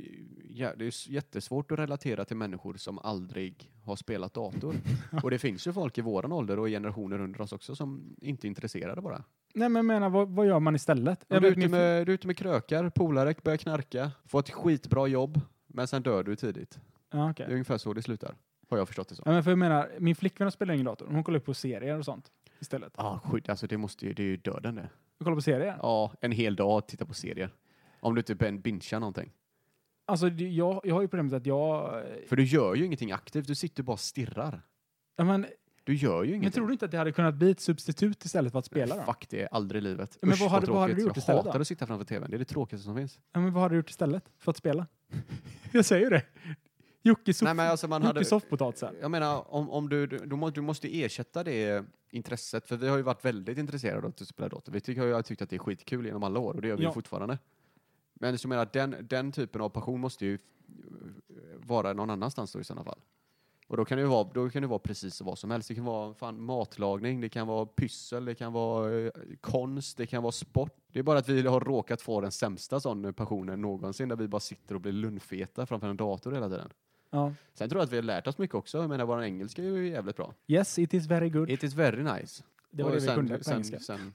B: ja, det är s- jättesvårt att relatera till människor som aldrig har spelat dator. och det finns ju folk i våran ålder och generationer under oss också som inte är intresserade bara.
A: Nej men jag menar, vad, vad gör man istället?
B: Du
A: Jag
B: är,
A: vet,
B: ute
A: min
B: med, du är ute med krökar, polare, börjar knarka, får ett skitbra jobb, men sen dör du tidigt.
A: fl- ja, okej.
B: Det är ungefär så det slutar, har jag förstått det som.
A: ja, men för jag menar, min flickvän spelar ingen dator. Hon kollar på serier och sånt istället.
B: Ja, ah, skit, alltså det, måste ju, det är ju döden det.
A: Hon kollar på serier.
B: Ja, en hel dag att titta på serier. Om du inte ben- bingear någonting.
A: Alltså det- jag, jag har ju problemet att jag...
B: För du gör ju ingenting aktivt, du sitter bara och stirrar.
A: Ja, men,
B: Du gör ju
A: men
B: ingenting.
A: tror du inte att det hade kunnat bli ett substitut istället för att spela då?
B: Fuck det, aldrig i livet.
A: Men
B: Usch,
A: vad hade- vad hade du
B: tråkigt.
A: gjort istället
B: Jag hatar
A: då?
B: att sitta framför tvn, det är det tråkigaste som finns.
A: Ja, men vad har du gjort istället för att spela? jag säger ju det. Jocke soff-
B: Nej, men alltså man hade...
A: Jocke soffpotatisar.
B: Jag menar, om, om du, du, du må- du måste ersätta det intresset, för vi har ju varit väldigt intresserade av att spela dator. Vi tycker, jag har tyckt att det är skitkul genom alla år och det gör vi
A: Ja.
B: ju fortfarande. Men så menar jag, den, den typen av passion måste ju eh, vara någon annanstans då i sådana fall. Och då kan det ju vara, då kan det vara precis vad som helst. Det kan vara fan, matlagning, det kan vara pyssel, det kan vara eh, konst, det kan vara sport. Det är bara att vi har råkat få den sämsta sån passionen någonsin, där vi bara sitter och blir lunnfeta framför en dator hela tiden.
A: Ja.
B: Sen tror jag att vi har lärt oss mycket också. Jag menar, vår engelska är ju jävligt bra.
A: Yes, it is very good.
B: It is very nice.
A: det var
B: Och
A: det vi
B: sen,
A: kunde på
B: sen,
A: engelska.
B: Sen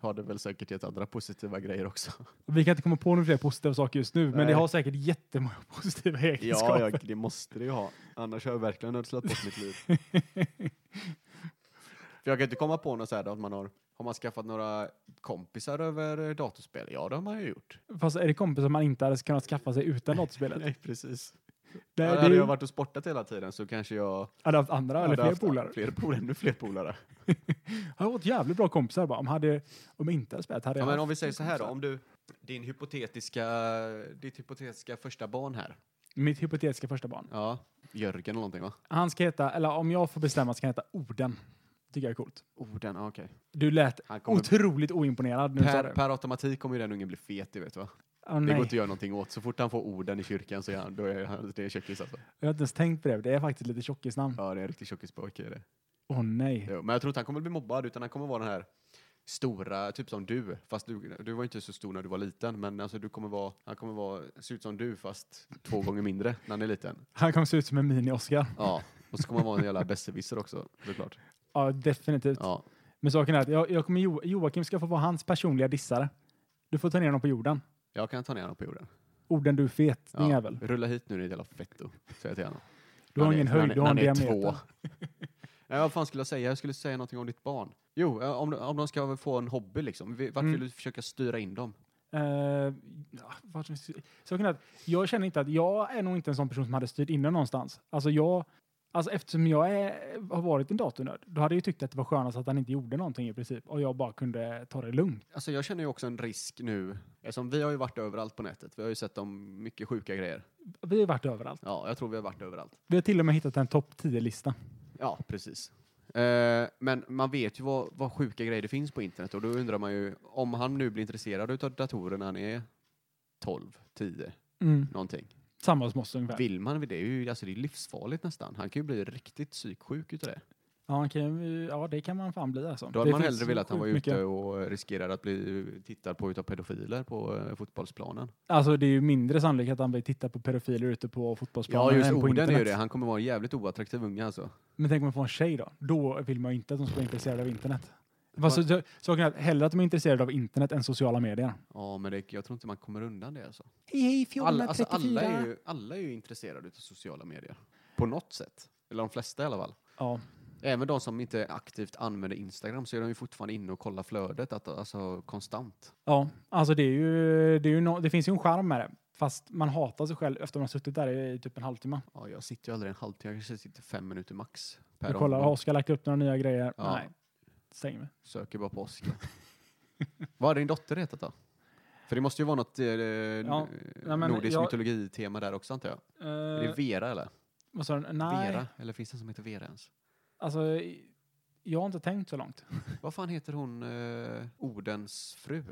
B: har det väl säkert gett andra positiva grejer också.
A: Vi kan inte komma på några fler positiva saker just nu, men
B: Nej.
A: det har säkert jättemånga positiva egenskaper.
B: det måste det ju ha. Annars har jag verkligen ödslat bort mitt liv. För jag kan inte komma på något så här då att man har, har man skaffat några kompisar över eh, datorspel? Ja, det har man ju gjort.
A: Fast är det kompisar man inte hade kunnat skaffa sig utan datorspelet? Nej,
B: precis.
A: det är
B: hade
A: ju-
B: jag varit och sportat hela tiden så kanske jag
A: hade haft andra eller
B: hade
A: fler
B: haft
A: polare.
B: Fler polare, ännu fler polare.
A: Jag har varit jävligt bra kompisar bara. Om, hade, om jag inte hade spelat hade
B: Ja,
A: jag
B: men
A: haft
B: om vi säger så här då,
A: kompisar.
B: om du, din hypotetiska, ditt hypotetiska första barn här.
A: Mitt hypotetiska första barn.
B: Ja. Jörgen eller någonting va?
A: Han ska heta, eller om jag får bestämma ska han heta Oden. Tycker jag är coolt.
B: Orden, ah, okej.
A: Du lät
B: Han kommer-
A: otroligt oimponerad nu. sa du.
B: Per, per automatik kommer ju den ungen bli fet, det vet du va?
A: Åh,
B: Det
A: nej.
B: går inte att göra någonting åt. Så fort han får orden i kyrkan så är han, då är han, det är tjockis alltså.
A: Jag har inte ens tänkt på det. Det är faktiskt lite tjockisnamn. Åh
B: Ja, det är en riktig tjockispojke är det.
A: nej.
B: Jo, men jag tror inte han kommer bli mobbad, utan han kommer vara den här stora, typ som du. Fast du, du var inte så stor när du var liten, men alltså du kommer vara, han kommer vara, se ut som du fast två gånger mindre när han är liten.
A: Han kommer se ut som en mini-Oscar.
B: Ja, och så kommer han vara en jävla besserwisser också, såklart.
A: Ja, definitivt.
B: Ja,
A: Men saken är att jag, jag kommer jo, Joakim ska få vara hans personliga dissare. Du får ta ner honom på jorden.
B: jag kan ta ner honom på jorden.
A: Orden du är fet, din
B: Ja,
A: jävel.
B: rulla hit nu ditt jävla fetto, säger jag till honom.
A: Du har
B: Han är-
A: ingen
B: han
A: höjd,
B: är-
A: du har en
B: han är
A: diameter.
B: två. Nej, vad fan skulle jag säga? Jag skulle säga någonting om ditt barn. Jo, eh, om, de- om de ska få en hobby liksom. Vi- Vart
A: Mm.
B: vill du försöka styra in dem?
A: Eh, ja, vad som- saken är att jag känner inte att jag är nog inte en sån person som hade styrt in den någonstans. Alltså jag, Alltså eftersom jag är, har varit en datornörd, då hade jag ju tyckt att det var skönast att han inte gjorde någonting i princip och jag bara kunde ta det lugnt.
B: Alltså jag känner ju också en risk nu, eftersom vi har ju varit överallt på nätet. Vi har ju sett om mycket sjuka grejer.
A: Vi har varit överallt.
B: Ja, jag tror vi har varit överallt.
A: Vi har till och med hittat en topp 10-lista.
B: Ja, precis. Eh, men man vet ju vad, vad sjuka grejer det finns på internet och då undrar man ju om han nu blir intresserad utav datorer när han är 12, 10,
A: Mm.
B: någonting.
A: Samma som oss ungefär.
B: Vill man, det är ju alltså det är livsfarligt nästan. Han kan ju bli riktigt psyksjuk utav det.
A: Ja, han kan ju- ja, det kan man fan bli alltså.
B: Då hade
A: Det
B: man
A: finns
B: hellre velat att han var
A: sjukt
B: ute
A: mycket.
B: och riskerade att bli tittad på utav pedofiler på eh, fotbollsplanen.
A: Alltså det är ju mindre sannolikt att han vill titta på pedofiler ute på fotbollsplanen
B: Ja, just
A: än på
B: orden är ju
A: internet.
B: det. Han kommer vara en jävligt oattraktiv unge alltså.
A: Men tänk om man får en tjej då? Då vill man ju inte att de ska vara intresserade av internet. Fast så, så, så, hellre att de är intresserade av internet än sociala medier.
B: Ja, men det, jag tror inte man kommer undan det alltså.
A: Hej hej,
B: Alla, alltså alla, är ju, alla är ju intresserade utav sociala medier. På något sätt. Eller de flesta i alla fall.
A: Ja,
B: Även de som inte aktivt använder Instagram så är de ju fortfarande inne och kollar flödet att, alltså, konstant.
A: ja, alltså det är ju, det, är ju nå- det finns ju en charm med det. Fast man hatar sig själv efter man har suttit där i typ en halvtimme.
B: Ja, jag sitter ju aldrig en halvtimme, jag kanske sitter fem minuter max. Per
A: Du kollar, har
B: omgång.
A: Oskar lagt upp några nya grejer?
B: Ja.
A: Nej. Stäng mig.
B: Söker bara på Oskar. Vad har din dotter hetat då? För det måste ju vara något eh, ja,
A: nej, men
B: nordisk
A: jag-
B: mytologi-tema där också antar jag. Är det
A: Uh,
B: Vera eller?
A: vad sa du? Nej,
B: Vera? Eller finns det en som heter Vera ens?
A: alltså jag har inte tänkt så långt.
B: Vad fan heter hon, eh, Odens fru?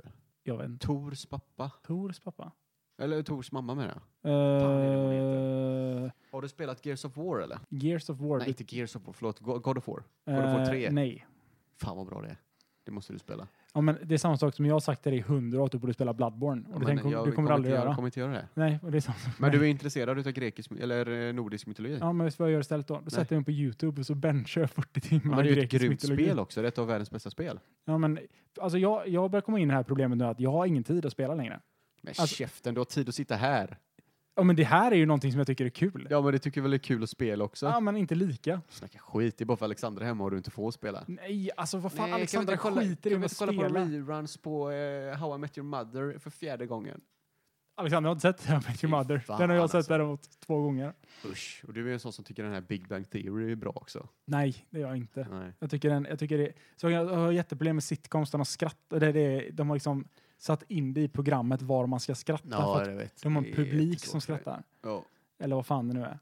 A: Jag vet inte.
B: Tors pappa?
A: Tors pappa?
B: Eller Tors mamma menar jag.
A: Eh,
B: är det hon
A: Uh,
B: Har du spelat Gears of War eller?
A: Gears of War.
B: Nej, inte Gears of War, förlåt. Go- God of War.
A: Eh,
B: God of War 3.
A: nej.
B: Fan vad bra det är. Det måste du spela.
A: Ja, men det är samma sak som jag har sagt till dig i hundra år att du borde spela Bloodborne. Och
B: Ja,
A: du,
B: men
A: tänker,
B: jag
A: du kommer aldrig
B: inte,
A: göra.
B: Jag kommer inte göra det.
A: Nej, och det är samma sak.
B: Men du är intresserad utav grekisk, eller eh, nordisk mytologi?
A: Ja, men vet du vad jag gör istället då? Då sätter jag mig på YouTube och så benchar jag 40 timmar
B: Men det är ju ett
A: grekisk
B: grymt
A: mytologi.
B: spel också. Det är ett av världens bästa spel.
A: Ja, men alltså jag, jag börjar komma in i det här problemet nu att jag har ingen tid att spela längre.
B: Men
A: Alltså-
B: käften, du har tid att sitta här.
A: Ja, men det här är ju någonting som jag tycker är kul.
B: Ja, men det tycker jag väl är kul att spela också.
A: Ja, men inte lika.
B: Snacka skit, det är bara för Alexandra är hemma och du inte får spela.
A: Nej, alltså vad fan,
B: Nej,
A: Alexandra
B: kan vi inte
A: skiter
B: kolla,
A: i
B: kan vi
A: att
B: inte kolla på
A: spela.
B: reruns på eh, How I Met Your Mother för fjärde gången?
A: Alexandra har inte sett How I Met Your Mother.
B: fan,
A: Den har jag sett
B: alltså.
A: däremot två gånger.
B: Usch, och du är en sån som tycker den här Big Bang Theory är bra också.
A: Nej, det gör jag inte.
B: Nej.
A: Jag tycker, den, jag tycker det, så jag har jätteproblem med sitcoms. De har, skratt, det, det, de har liksom satt in det i programmet var man ska skratta. för att
B: jag vet.
A: de har
B: Det
A: en
B: är
A: publik
B: jättesvårt
A: som
B: för mig.
A: skrattar.
B: Ja.
A: Eller vad fan det nu är.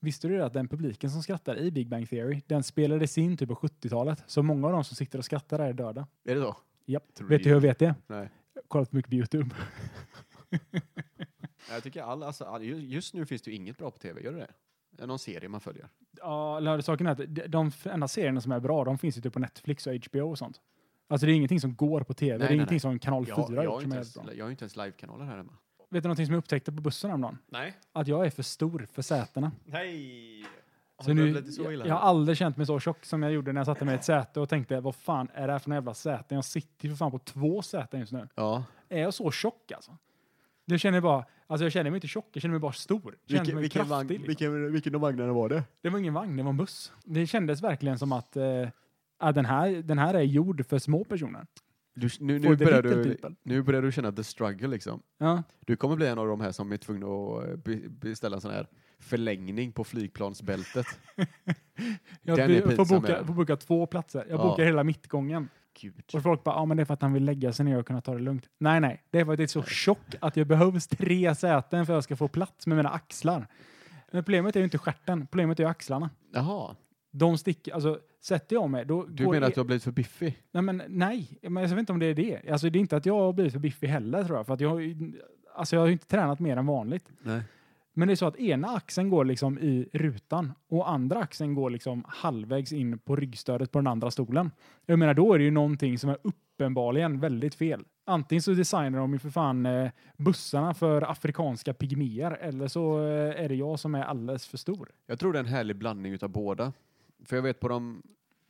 A: Visste du det att den publiken som skrattar i Big Bang Theory, den spelades in typ på 70-talet. Så många av de som sitter och skrattar där är döda.
B: Är det så?
A: Japp.
B: Tror
A: Vet
B: det-
A: du hur jag vet det?
B: Nej.
A: Jag har kollat för mycket på YouTube.
B: Jag tycker all, alltså, all, ju- just nu finns det ju inget bra på tv, gör det det? Någon serie man följer?
A: Ja, eller saken är att de- de enda serierna som är bra, de finns ju typ på Netflix och HBO och sånt. Alltså det är ingenting som går på tv.
B: Nej,
A: det är
B: nej,
A: ingenting
B: nej.
A: som Kanal 4
B: Jag, jag, har
A: gjort som
B: ju inte
A: är helt
B: ens,
A: bra.
B: jag har ju inte ens livekanaler här hemma.
A: Vet du någonting som jag upptäckte på bussen häromdagen?
B: Nej.
A: att jag är för stor för sätena.
B: Nej!
A: Så nu, jag, jag har aldrig känt mig så tjock som jag gjorde när jag satte mig i ett säte och tänkte vad fan är det här för några jävla säten? Jag sitter ju för fan på två säten just nu.
B: Ja.
A: Är jag så tjock alltså? Jag känner bara, alltså jag känner mig inte tjock, jag känner mig bara stor. Jag Känner mig kraftig. liksom.
B: vilken, vilken av vagnarna var det?
A: Det var ingen vagn, det var en buss. Det kändes verkligen som att eh, ah, den, här, den här är gjord för små personer.
B: Du, nu,
A: For
B: nu,
A: the
B: börjar
A: little
B: du,
A: people.
B: nu börjar du känna the struggle liksom.
A: Ja,
B: Du kommer bli en av de här som är tvungna att eh, be- beställa en sån här förlängning på flygplansbältet.
A: jag
B: Den
A: vi-
B: är
A: jag får,
B: pinsam,
A: boka,
B: är
A: får boka två platser. Jag
B: Ja.
A: bokar hela mittgången.
B: Gud.
A: Och folk bara, ja men det är för att han vill lägga sig ner och kunna ta det lugnt. Nej, nej, det är för att jag är så tjock att jag behövs tre säten för att jag ska få plats med mina axlar. Men problemet är ju inte stjärten, problemet är ju axlarna.
B: Jaha,
A: De sticker, alltså sätter jag mig då
B: du
A: går
B: menar
A: jag,
B: att du har blivit för biffig?
A: Nej, men nej, men jag vet inte om det är det. Alltså det är inte att jag har blivit för biffig heller tror jag, för att jag har ju, alltså jag har ju inte tränat mer än vanligt.
B: Nej.
A: Men det är så att ena axeln går liksom i rutan och andra axeln går liksom halvvägs in på ryggstödet på den andra stolen. Jag menar, då är det ju någonting som är uppenbarligen väldigt fel. Antingen så designar de ju för fan eh, bussarna för afrikanska pygméer eller så eh, är det jag som är alldeles för stor.
B: Jag tror det är en härlig blandning utav båda. För jag vet på de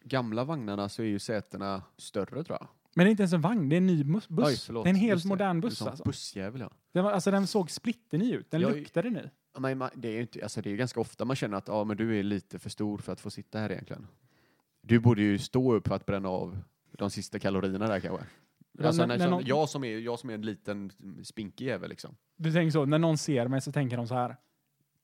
B: gamla vagnarna så är ju sätena större tror jag.
A: Men det är inte ens en vagn, det är en ny mus- buss.
B: Oj, förlåt.
A: det är en helt
B: Just
A: modern
B: Du
A: buss
B: sa
A: alltså.
B: Bussjävel ja.
A: Den, var, alltså. den såg splitterny ut, den
B: Jag-
A: luktade ny.
B: Ja, Men man, det, är ju inte, alltså det är ju ganska ofta man känner att ja, men du är lite för stor för att få sitta här egentligen. Du borde ju stå upp för att bränna av de sista kalorierna där kanske. Alltså,
A: När-
B: när,
A: när
B: som,
A: någon-
B: jag, som är, jag som är en liten mm, spinkig jävel liksom.
A: Du tänker så, när någon ser mig så tänker de så här.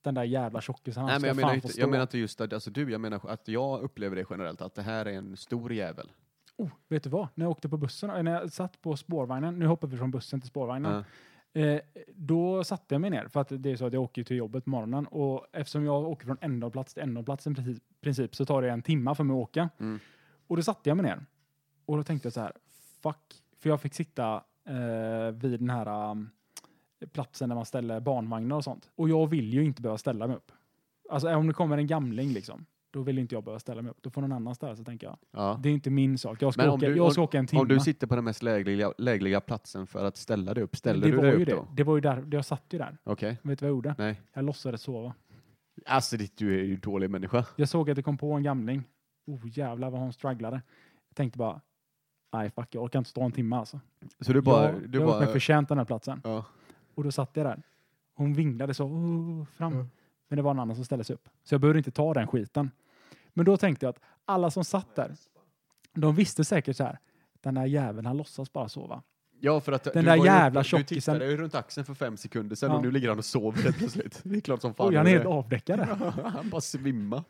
A: den där jävla tjockisen. han
B: Nej, men
A: ska
B: jag menar,
A: fan
B: inte,
A: få
B: jag
A: stå.
B: menar inte just att, alltså du, jag menar att jag upplever det generellt, att det här är en stor jävel.
A: Oh, vet du vad? När jag åkte på bussen, eh, när jag satt på spårvagnen, nu hoppar vi från bussen till spårvagnen.
B: Ja.
A: Eh, då satte jag mig ner, för att det är så att jag åker ju till jobbet på morgonen och eftersom jag åker från ändhållplats till ändhållplats i princip, princip så tar det en timma för mig att åka.
B: Mm.
A: Och då satte jag mig ner och då tänkte jag så här, fuck, för jag fick sitta eh, vid den här um, platsen där man ställer barnvagnar och sånt. Och jag vill ju inte behöva ställa mig upp. Alltså även om det kommer en gamling liksom, då vill inte jag behöva ställa mig upp. Då får någon annan ställa sig tänker jag.
B: Ja.
A: Det är inte min sak. Jag
B: Men
A: ska,
B: om
A: åka,
B: du-
A: jag ska åka en timme.
B: Om du sitter på den mest lägliga, lägliga platsen för att ställa dig upp, ställer
A: det
B: du
A: var
B: dig
A: ju
B: upp
A: det.
B: då?
A: Det var ju där, jag satt ju där.
B: Okej.
A: Vet du vad jag gjorde?
B: Nej.
A: Jag låtsades sova.
B: Alltså ditt, du är ju en dålig människa.
A: Jag såg att det kom på en gamling. Oh jävlar vad hon strugglade. Jag tänkte bara, nej fuck jag orkar inte stå en timme alltså.
B: Så du bara...
A: jag, jag
B: du
A: har gjort
B: bara
A: mig förtjänt den här platsen.
B: ja.
A: Och då satt jag där. Hon vinglade så oh, fram. Men det var en annan som ställde sig upp. Så jag behövde inte ta den skiten. Men då tänkte jag att alla som satt där, de visste säkert så här, den där jäveln han låtsas bara sova.
B: ja, för att du
A: där
B: var ju
A: jävla
B: uppe- Du
A: tjockisen-
B: tittade ju runt axeln för fem sekunder sedan
A: Ja.
B: och nu ligger han och sover helt plötsligt. Det är klart som fan.
A: Oj, han är
B: det.
A: helt avdäckad där.
B: han bara svimmar.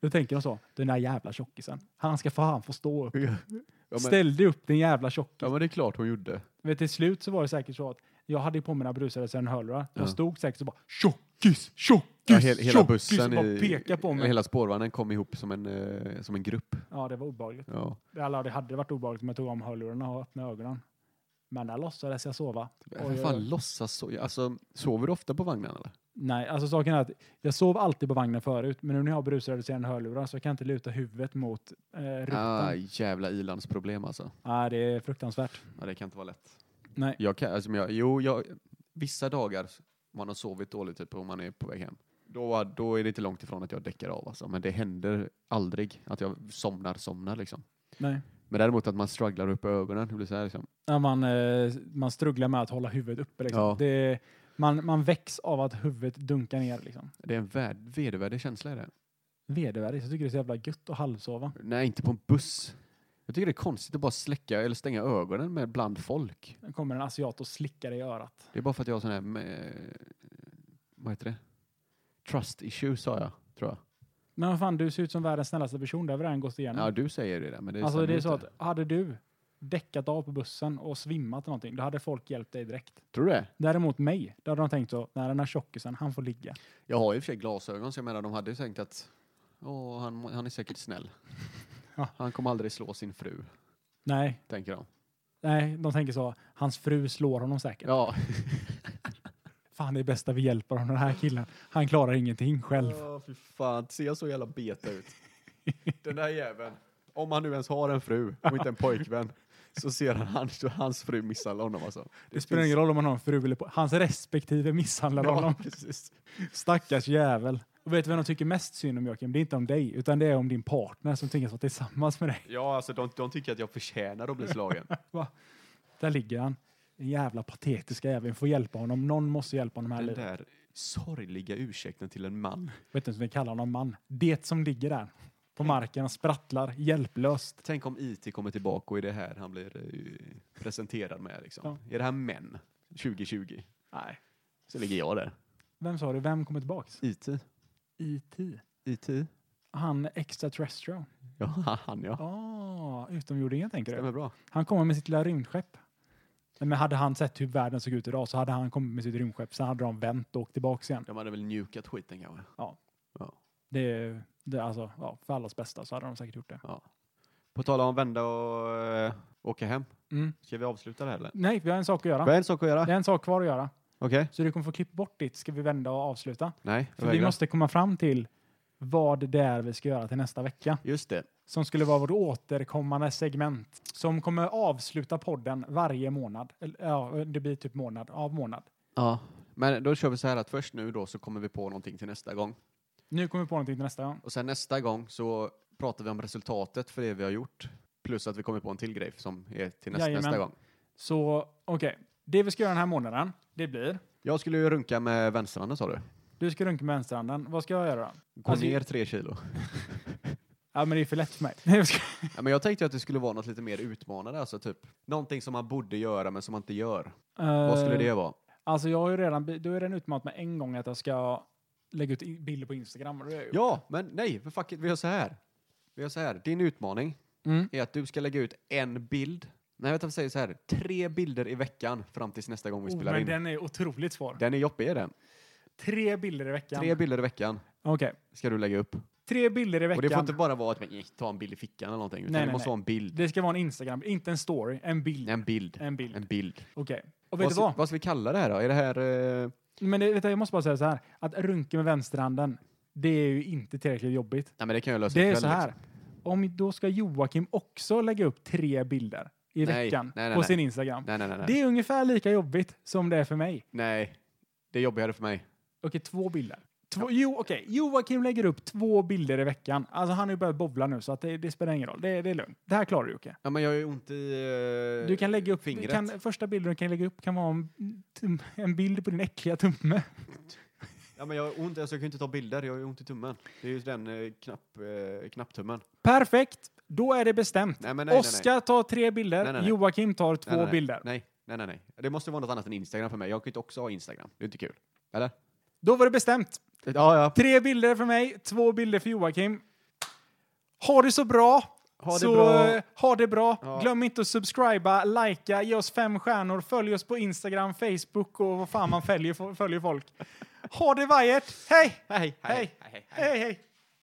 A: Då tänker de så, den där jävla tjockisen, han ska fan få stå upp.
B: Ja, men,
A: Ställ dig upp din jävla tjockis.
B: ja, men det är klart hon gjorde.
A: Men till slut så var det säkert så att jag hade ju på mina brusare sen hörlurar. De
B: Ja.
A: stod säkert så bara tjockis, tjockis,
B: Ja, he- hela
A: tjockis
B: bussen,
A: och bara
B: i-
A: pekade på mig.
B: hela spårvagnen kom ihop som en, eh, som en grupp.
A: Ja, det var obehagligt.
B: Ja.
A: Alla, det hade varit obehagligt om jag tog om hörlurarna och öppnade ögonen. Men där låtsades jag sova. Oj,
B: Vad
A: oj,
B: fan
A: oj.
B: låtsas så? Alltså, sover du ofta på vagnen eller?
A: Nej, alltså saken är att jag sov alltid på vagnen förut, men nu när jag har brusreducerande hörlurar så jag kan inte luta huvudet mot eh, rutan.
B: Ah, jävla ilandsproblem alltså.
A: Nej, det är fruktansvärt.
B: Ja, det kan inte vara lätt.
A: Nej.
B: Jag kan, alltså, men jag, jo, jag, vissa dagar man har sovit dåligt typ, och man är på väg hem. Då, då är det inte långt ifrån att jag däckar av alltså. Men det händer aldrig att jag somnar, somnar liksom.
A: Nej.
B: Men däremot att man strugglar upp i ögonen. Det blir så här, liksom.
A: När man, eh, man strugglar med att hålla huvudet uppe. Liksom.
B: Ja.
A: Det, man, man väcks av att huvudet dunkar ner. Liksom.
B: Det är en värd- vedervärdig känsla i det.
A: Vedervärdigt. Jag tycker det är så jävla gött att halvsova.
B: Nej, inte på en buss. Jag tycker det är konstigt att bara släcka eller stänga ögonen med bland folk.
A: Nu kommer en asiat och slickar dig i örat.
B: Det är bara för att jag har sån här, med, vad heter det? Trust issues sa jag, tror jag.
A: Men vad fan, du ser ut som världens snällaste person. Det har vi redan gått igenom.
B: Ja, du säger det där, men det
A: Mm. alltså
B: stämmer
A: det är
B: inte.
A: så att hade du däckat av på bussen och svimmat eller någonting, då hade folk hjälpt dig direkt.
B: Tror du det?
A: Däremot mig, då hade de tänkt så, nej den här tjockisen, han får ligga.
B: Jag har i och för sig glasögon, så jag menar, de hade ju tänkt att åh, han, han är säkert snäll.
A: Ja.
B: Han kommer aldrig slå sin fru,
A: Nej,
B: tänker de.
A: nej, de tänker så, hans fru slår honom säkert.
B: Ja.
A: Fan det är bästa vi hjälper honom, den här killen. Han klarar ingenting själv.
B: Åh, fy fan. Ser jag så jävla beta ut? Den där jäveln. Om han nu ens har en fru och inte en pojkvän så ser han hans, hans fru misshandla honom alltså.
A: Det spelar ingen roll om han har en fru eller på. Hans respektive misshandlar honom.
B: Ja, precis.
A: Stackars jävel. Och vet du vem de tycker mest synd om Joakim? Det är inte om dig, utan det är om din partner som tvingas vara tillsammans med dig.
B: Ja, alltså de, de tycker att jag förtjänar att bli slagen.
A: Där ligger han. Den jävla patetiska jäveln. Vi får hjälpa honom. Någon måste hjälpa honom här i
B: Den
A: livet.
B: där sorgliga ursäkten till en man.
A: Vet du inte som vi kallar honom? Man. Det som ligger där på marken och sprattlar hjälplöst.
B: Tänk om IT kommer tillbaka och är det här han blir eh, presenterad med liksom.
A: Ja.
B: Är det här män 2020?
A: Nej.
B: Så ligger jag där.
A: Vem sa du? Vem kommer tillbaks?
B: IT?
A: E.T.
B: IT?
A: Han extraterrestrial.
B: E Ja, han ja.
A: Ah, utomjordingen tänker du?
B: Stämmer bra.
A: Han kommer med sitt lilla rymdskepp. Nej, Men hade han sett hur världen såg ut idag så hade han kommit med sitt rymdskepp. Sen hade de vänt och åkt tillbaks igen.
B: De hade väl njukat skiten kanske.
A: Det är, det är alltså, ja, för allas bästa så hade de säkert gjort det.
B: På tal om vända och eh, åka hem.
A: Mm.
B: Ska vi avsluta det här eller?
A: Nej, vi har en sak att
B: Vi har
A: göra.
B: en sak att göra.
A: Det är en sak kvar att göra.
B: Okej?
A: Så du kommer få klippa bort ditt ska vi vända och avsluta.
B: Nej, jag
A: För vi
B: vägrar.
A: måste komma fram till vad det är vi ska göra till nästa vecka.
B: Just det.
A: Som skulle vara vårt återkommande segment. Som kommer avsluta podden varje månad. Eller, Ja, det blir typ månad av månad.
B: Ja. Men då kör vi så här att först nu då så kommer vi på någonting till nästa gång.
A: Nu kommer vi på någonting till nästa gång.
B: Och sen nästa gång så pratar vi om resultatet för det vi har gjort. Plus att vi kommer på en till grej som är till nästa,
A: Jajamän.
B: nästa gång.
A: Så okej, det vi ska göra den här månaden, det blir.
B: Jag skulle ju runka med vänsterhanden sa du.
A: Du ska runka med vänsterhanden. Vad ska jag göra?
B: Gå
A: Alltså,
B: ner tre kilo.
A: Ja, men det är för lätt för mig. Nej, jag ska-
B: ja, men jag tänkte att det skulle vara något lite mer utmanande. Alltså typ någonting som man borde göra men som man inte gör. Vad skulle
A: Eh,
B: det vara?
A: Alltså jag har ju redan, du har ju redan utmanat mig en gång att jag ska lägga ut i- bilder på Instagram. Och det är ju-
B: Ja, men nej, för fuck it, vi gör så här. Vi gör så här. Din utmaning
A: Mm.
B: är att du ska lägga ut en bild. Nej, vänta, vi säger så här. Tre bilder i veckan fram tills nästa gång vi
A: Oh,
B: spelar
A: men
B: in. Den,
A: den är otroligt svår.
B: är jobbig, är den.
A: Tre bilder i veckan.
B: Tre bilder i veckan
A: Okej.
B: ska du lägga upp.
A: Tre bilder i
B: Och det får
A: veckan.
B: inte bara vara att man eh, ta en bild i fickan eller någonting, utan
A: Nej,
B: det
A: nej,
B: måste
A: nej.
B: vara en bild.
A: Det ska vara en Instagram, inte en story, en bild.
B: En bild.
A: En bild.
B: En bild.
A: Okej. Och vet
B: Vad,
A: du
B: ska-
A: vad?
B: vad ska vi kalla det här då? Är det här... Eh,
A: Men det, vet du, jag måste bara säga så här, att runka med vänsterhanden, det är ju inte tillräckligt jobbigt.
B: nej, men det kan jag lösa
A: Det är
B: ikväll,
A: så här,
B: liksom.
A: om då ska Joakim också lägga upp tre bilder i
B: Nej,
A: veckan
B: nej, nej,
A: på
B: nej.
A: sin Instagram.
B: Nej, nej, nej. Nej.
A: Det är ungefär lika jobbigt som det är för mig.
B: nej. Det är jobbigare för mig.
A: Okej, två bilder. Två, jo, okej. Joakim lägger upp två bilder i veckan. Alltså han har ju börjat bobbla nu så att det, det spelar ingen roll. Det, det är lugnt. Det här klarar du Jocke.
B: Ja, men jag har ju ont i eh,
A: Du kan lägga upp,
B: fingret.
A: kan, första bilden du kan lägga upp kan vara en, tum- en bild på din äckliga tumme.
B: Ja, men jag har ont, alltså jag kan ju inte ta bilder, jag har ju ont i tummen. Det är ju den eh, knapp, eh, knapptummen.
A: Perfekt! Då är det bestämt.
B: Nej, men nej,
A: Oskar tar tre bilder,
B: Nej, nej, nej.
A: Joakim tar två
B: nej, nej, nej, nej.
A: bilder.
B: Nej, nej, nej, nej. Det måste vara något annat än Instagram för mig. Jag kan ju inte också ha Instagram. Det är inte kul. Eller?
A: Då var det bestämt.
B: Ja, ja.
A: Tre bilder för mig, två bilder för Joakim. Ha det så bra!
B: Ha det
A: så,
B: bra.
A: eh, Ha det bra.
B: Ja.
A: Glöm inte att subscriba, likea, ge oss fem stjärnor, följ oss på Instagram, Facebook och vad fan man följer, följer folk. Ha det vajert! Hej!
B: Hej,
A: Hej! Hej, hej!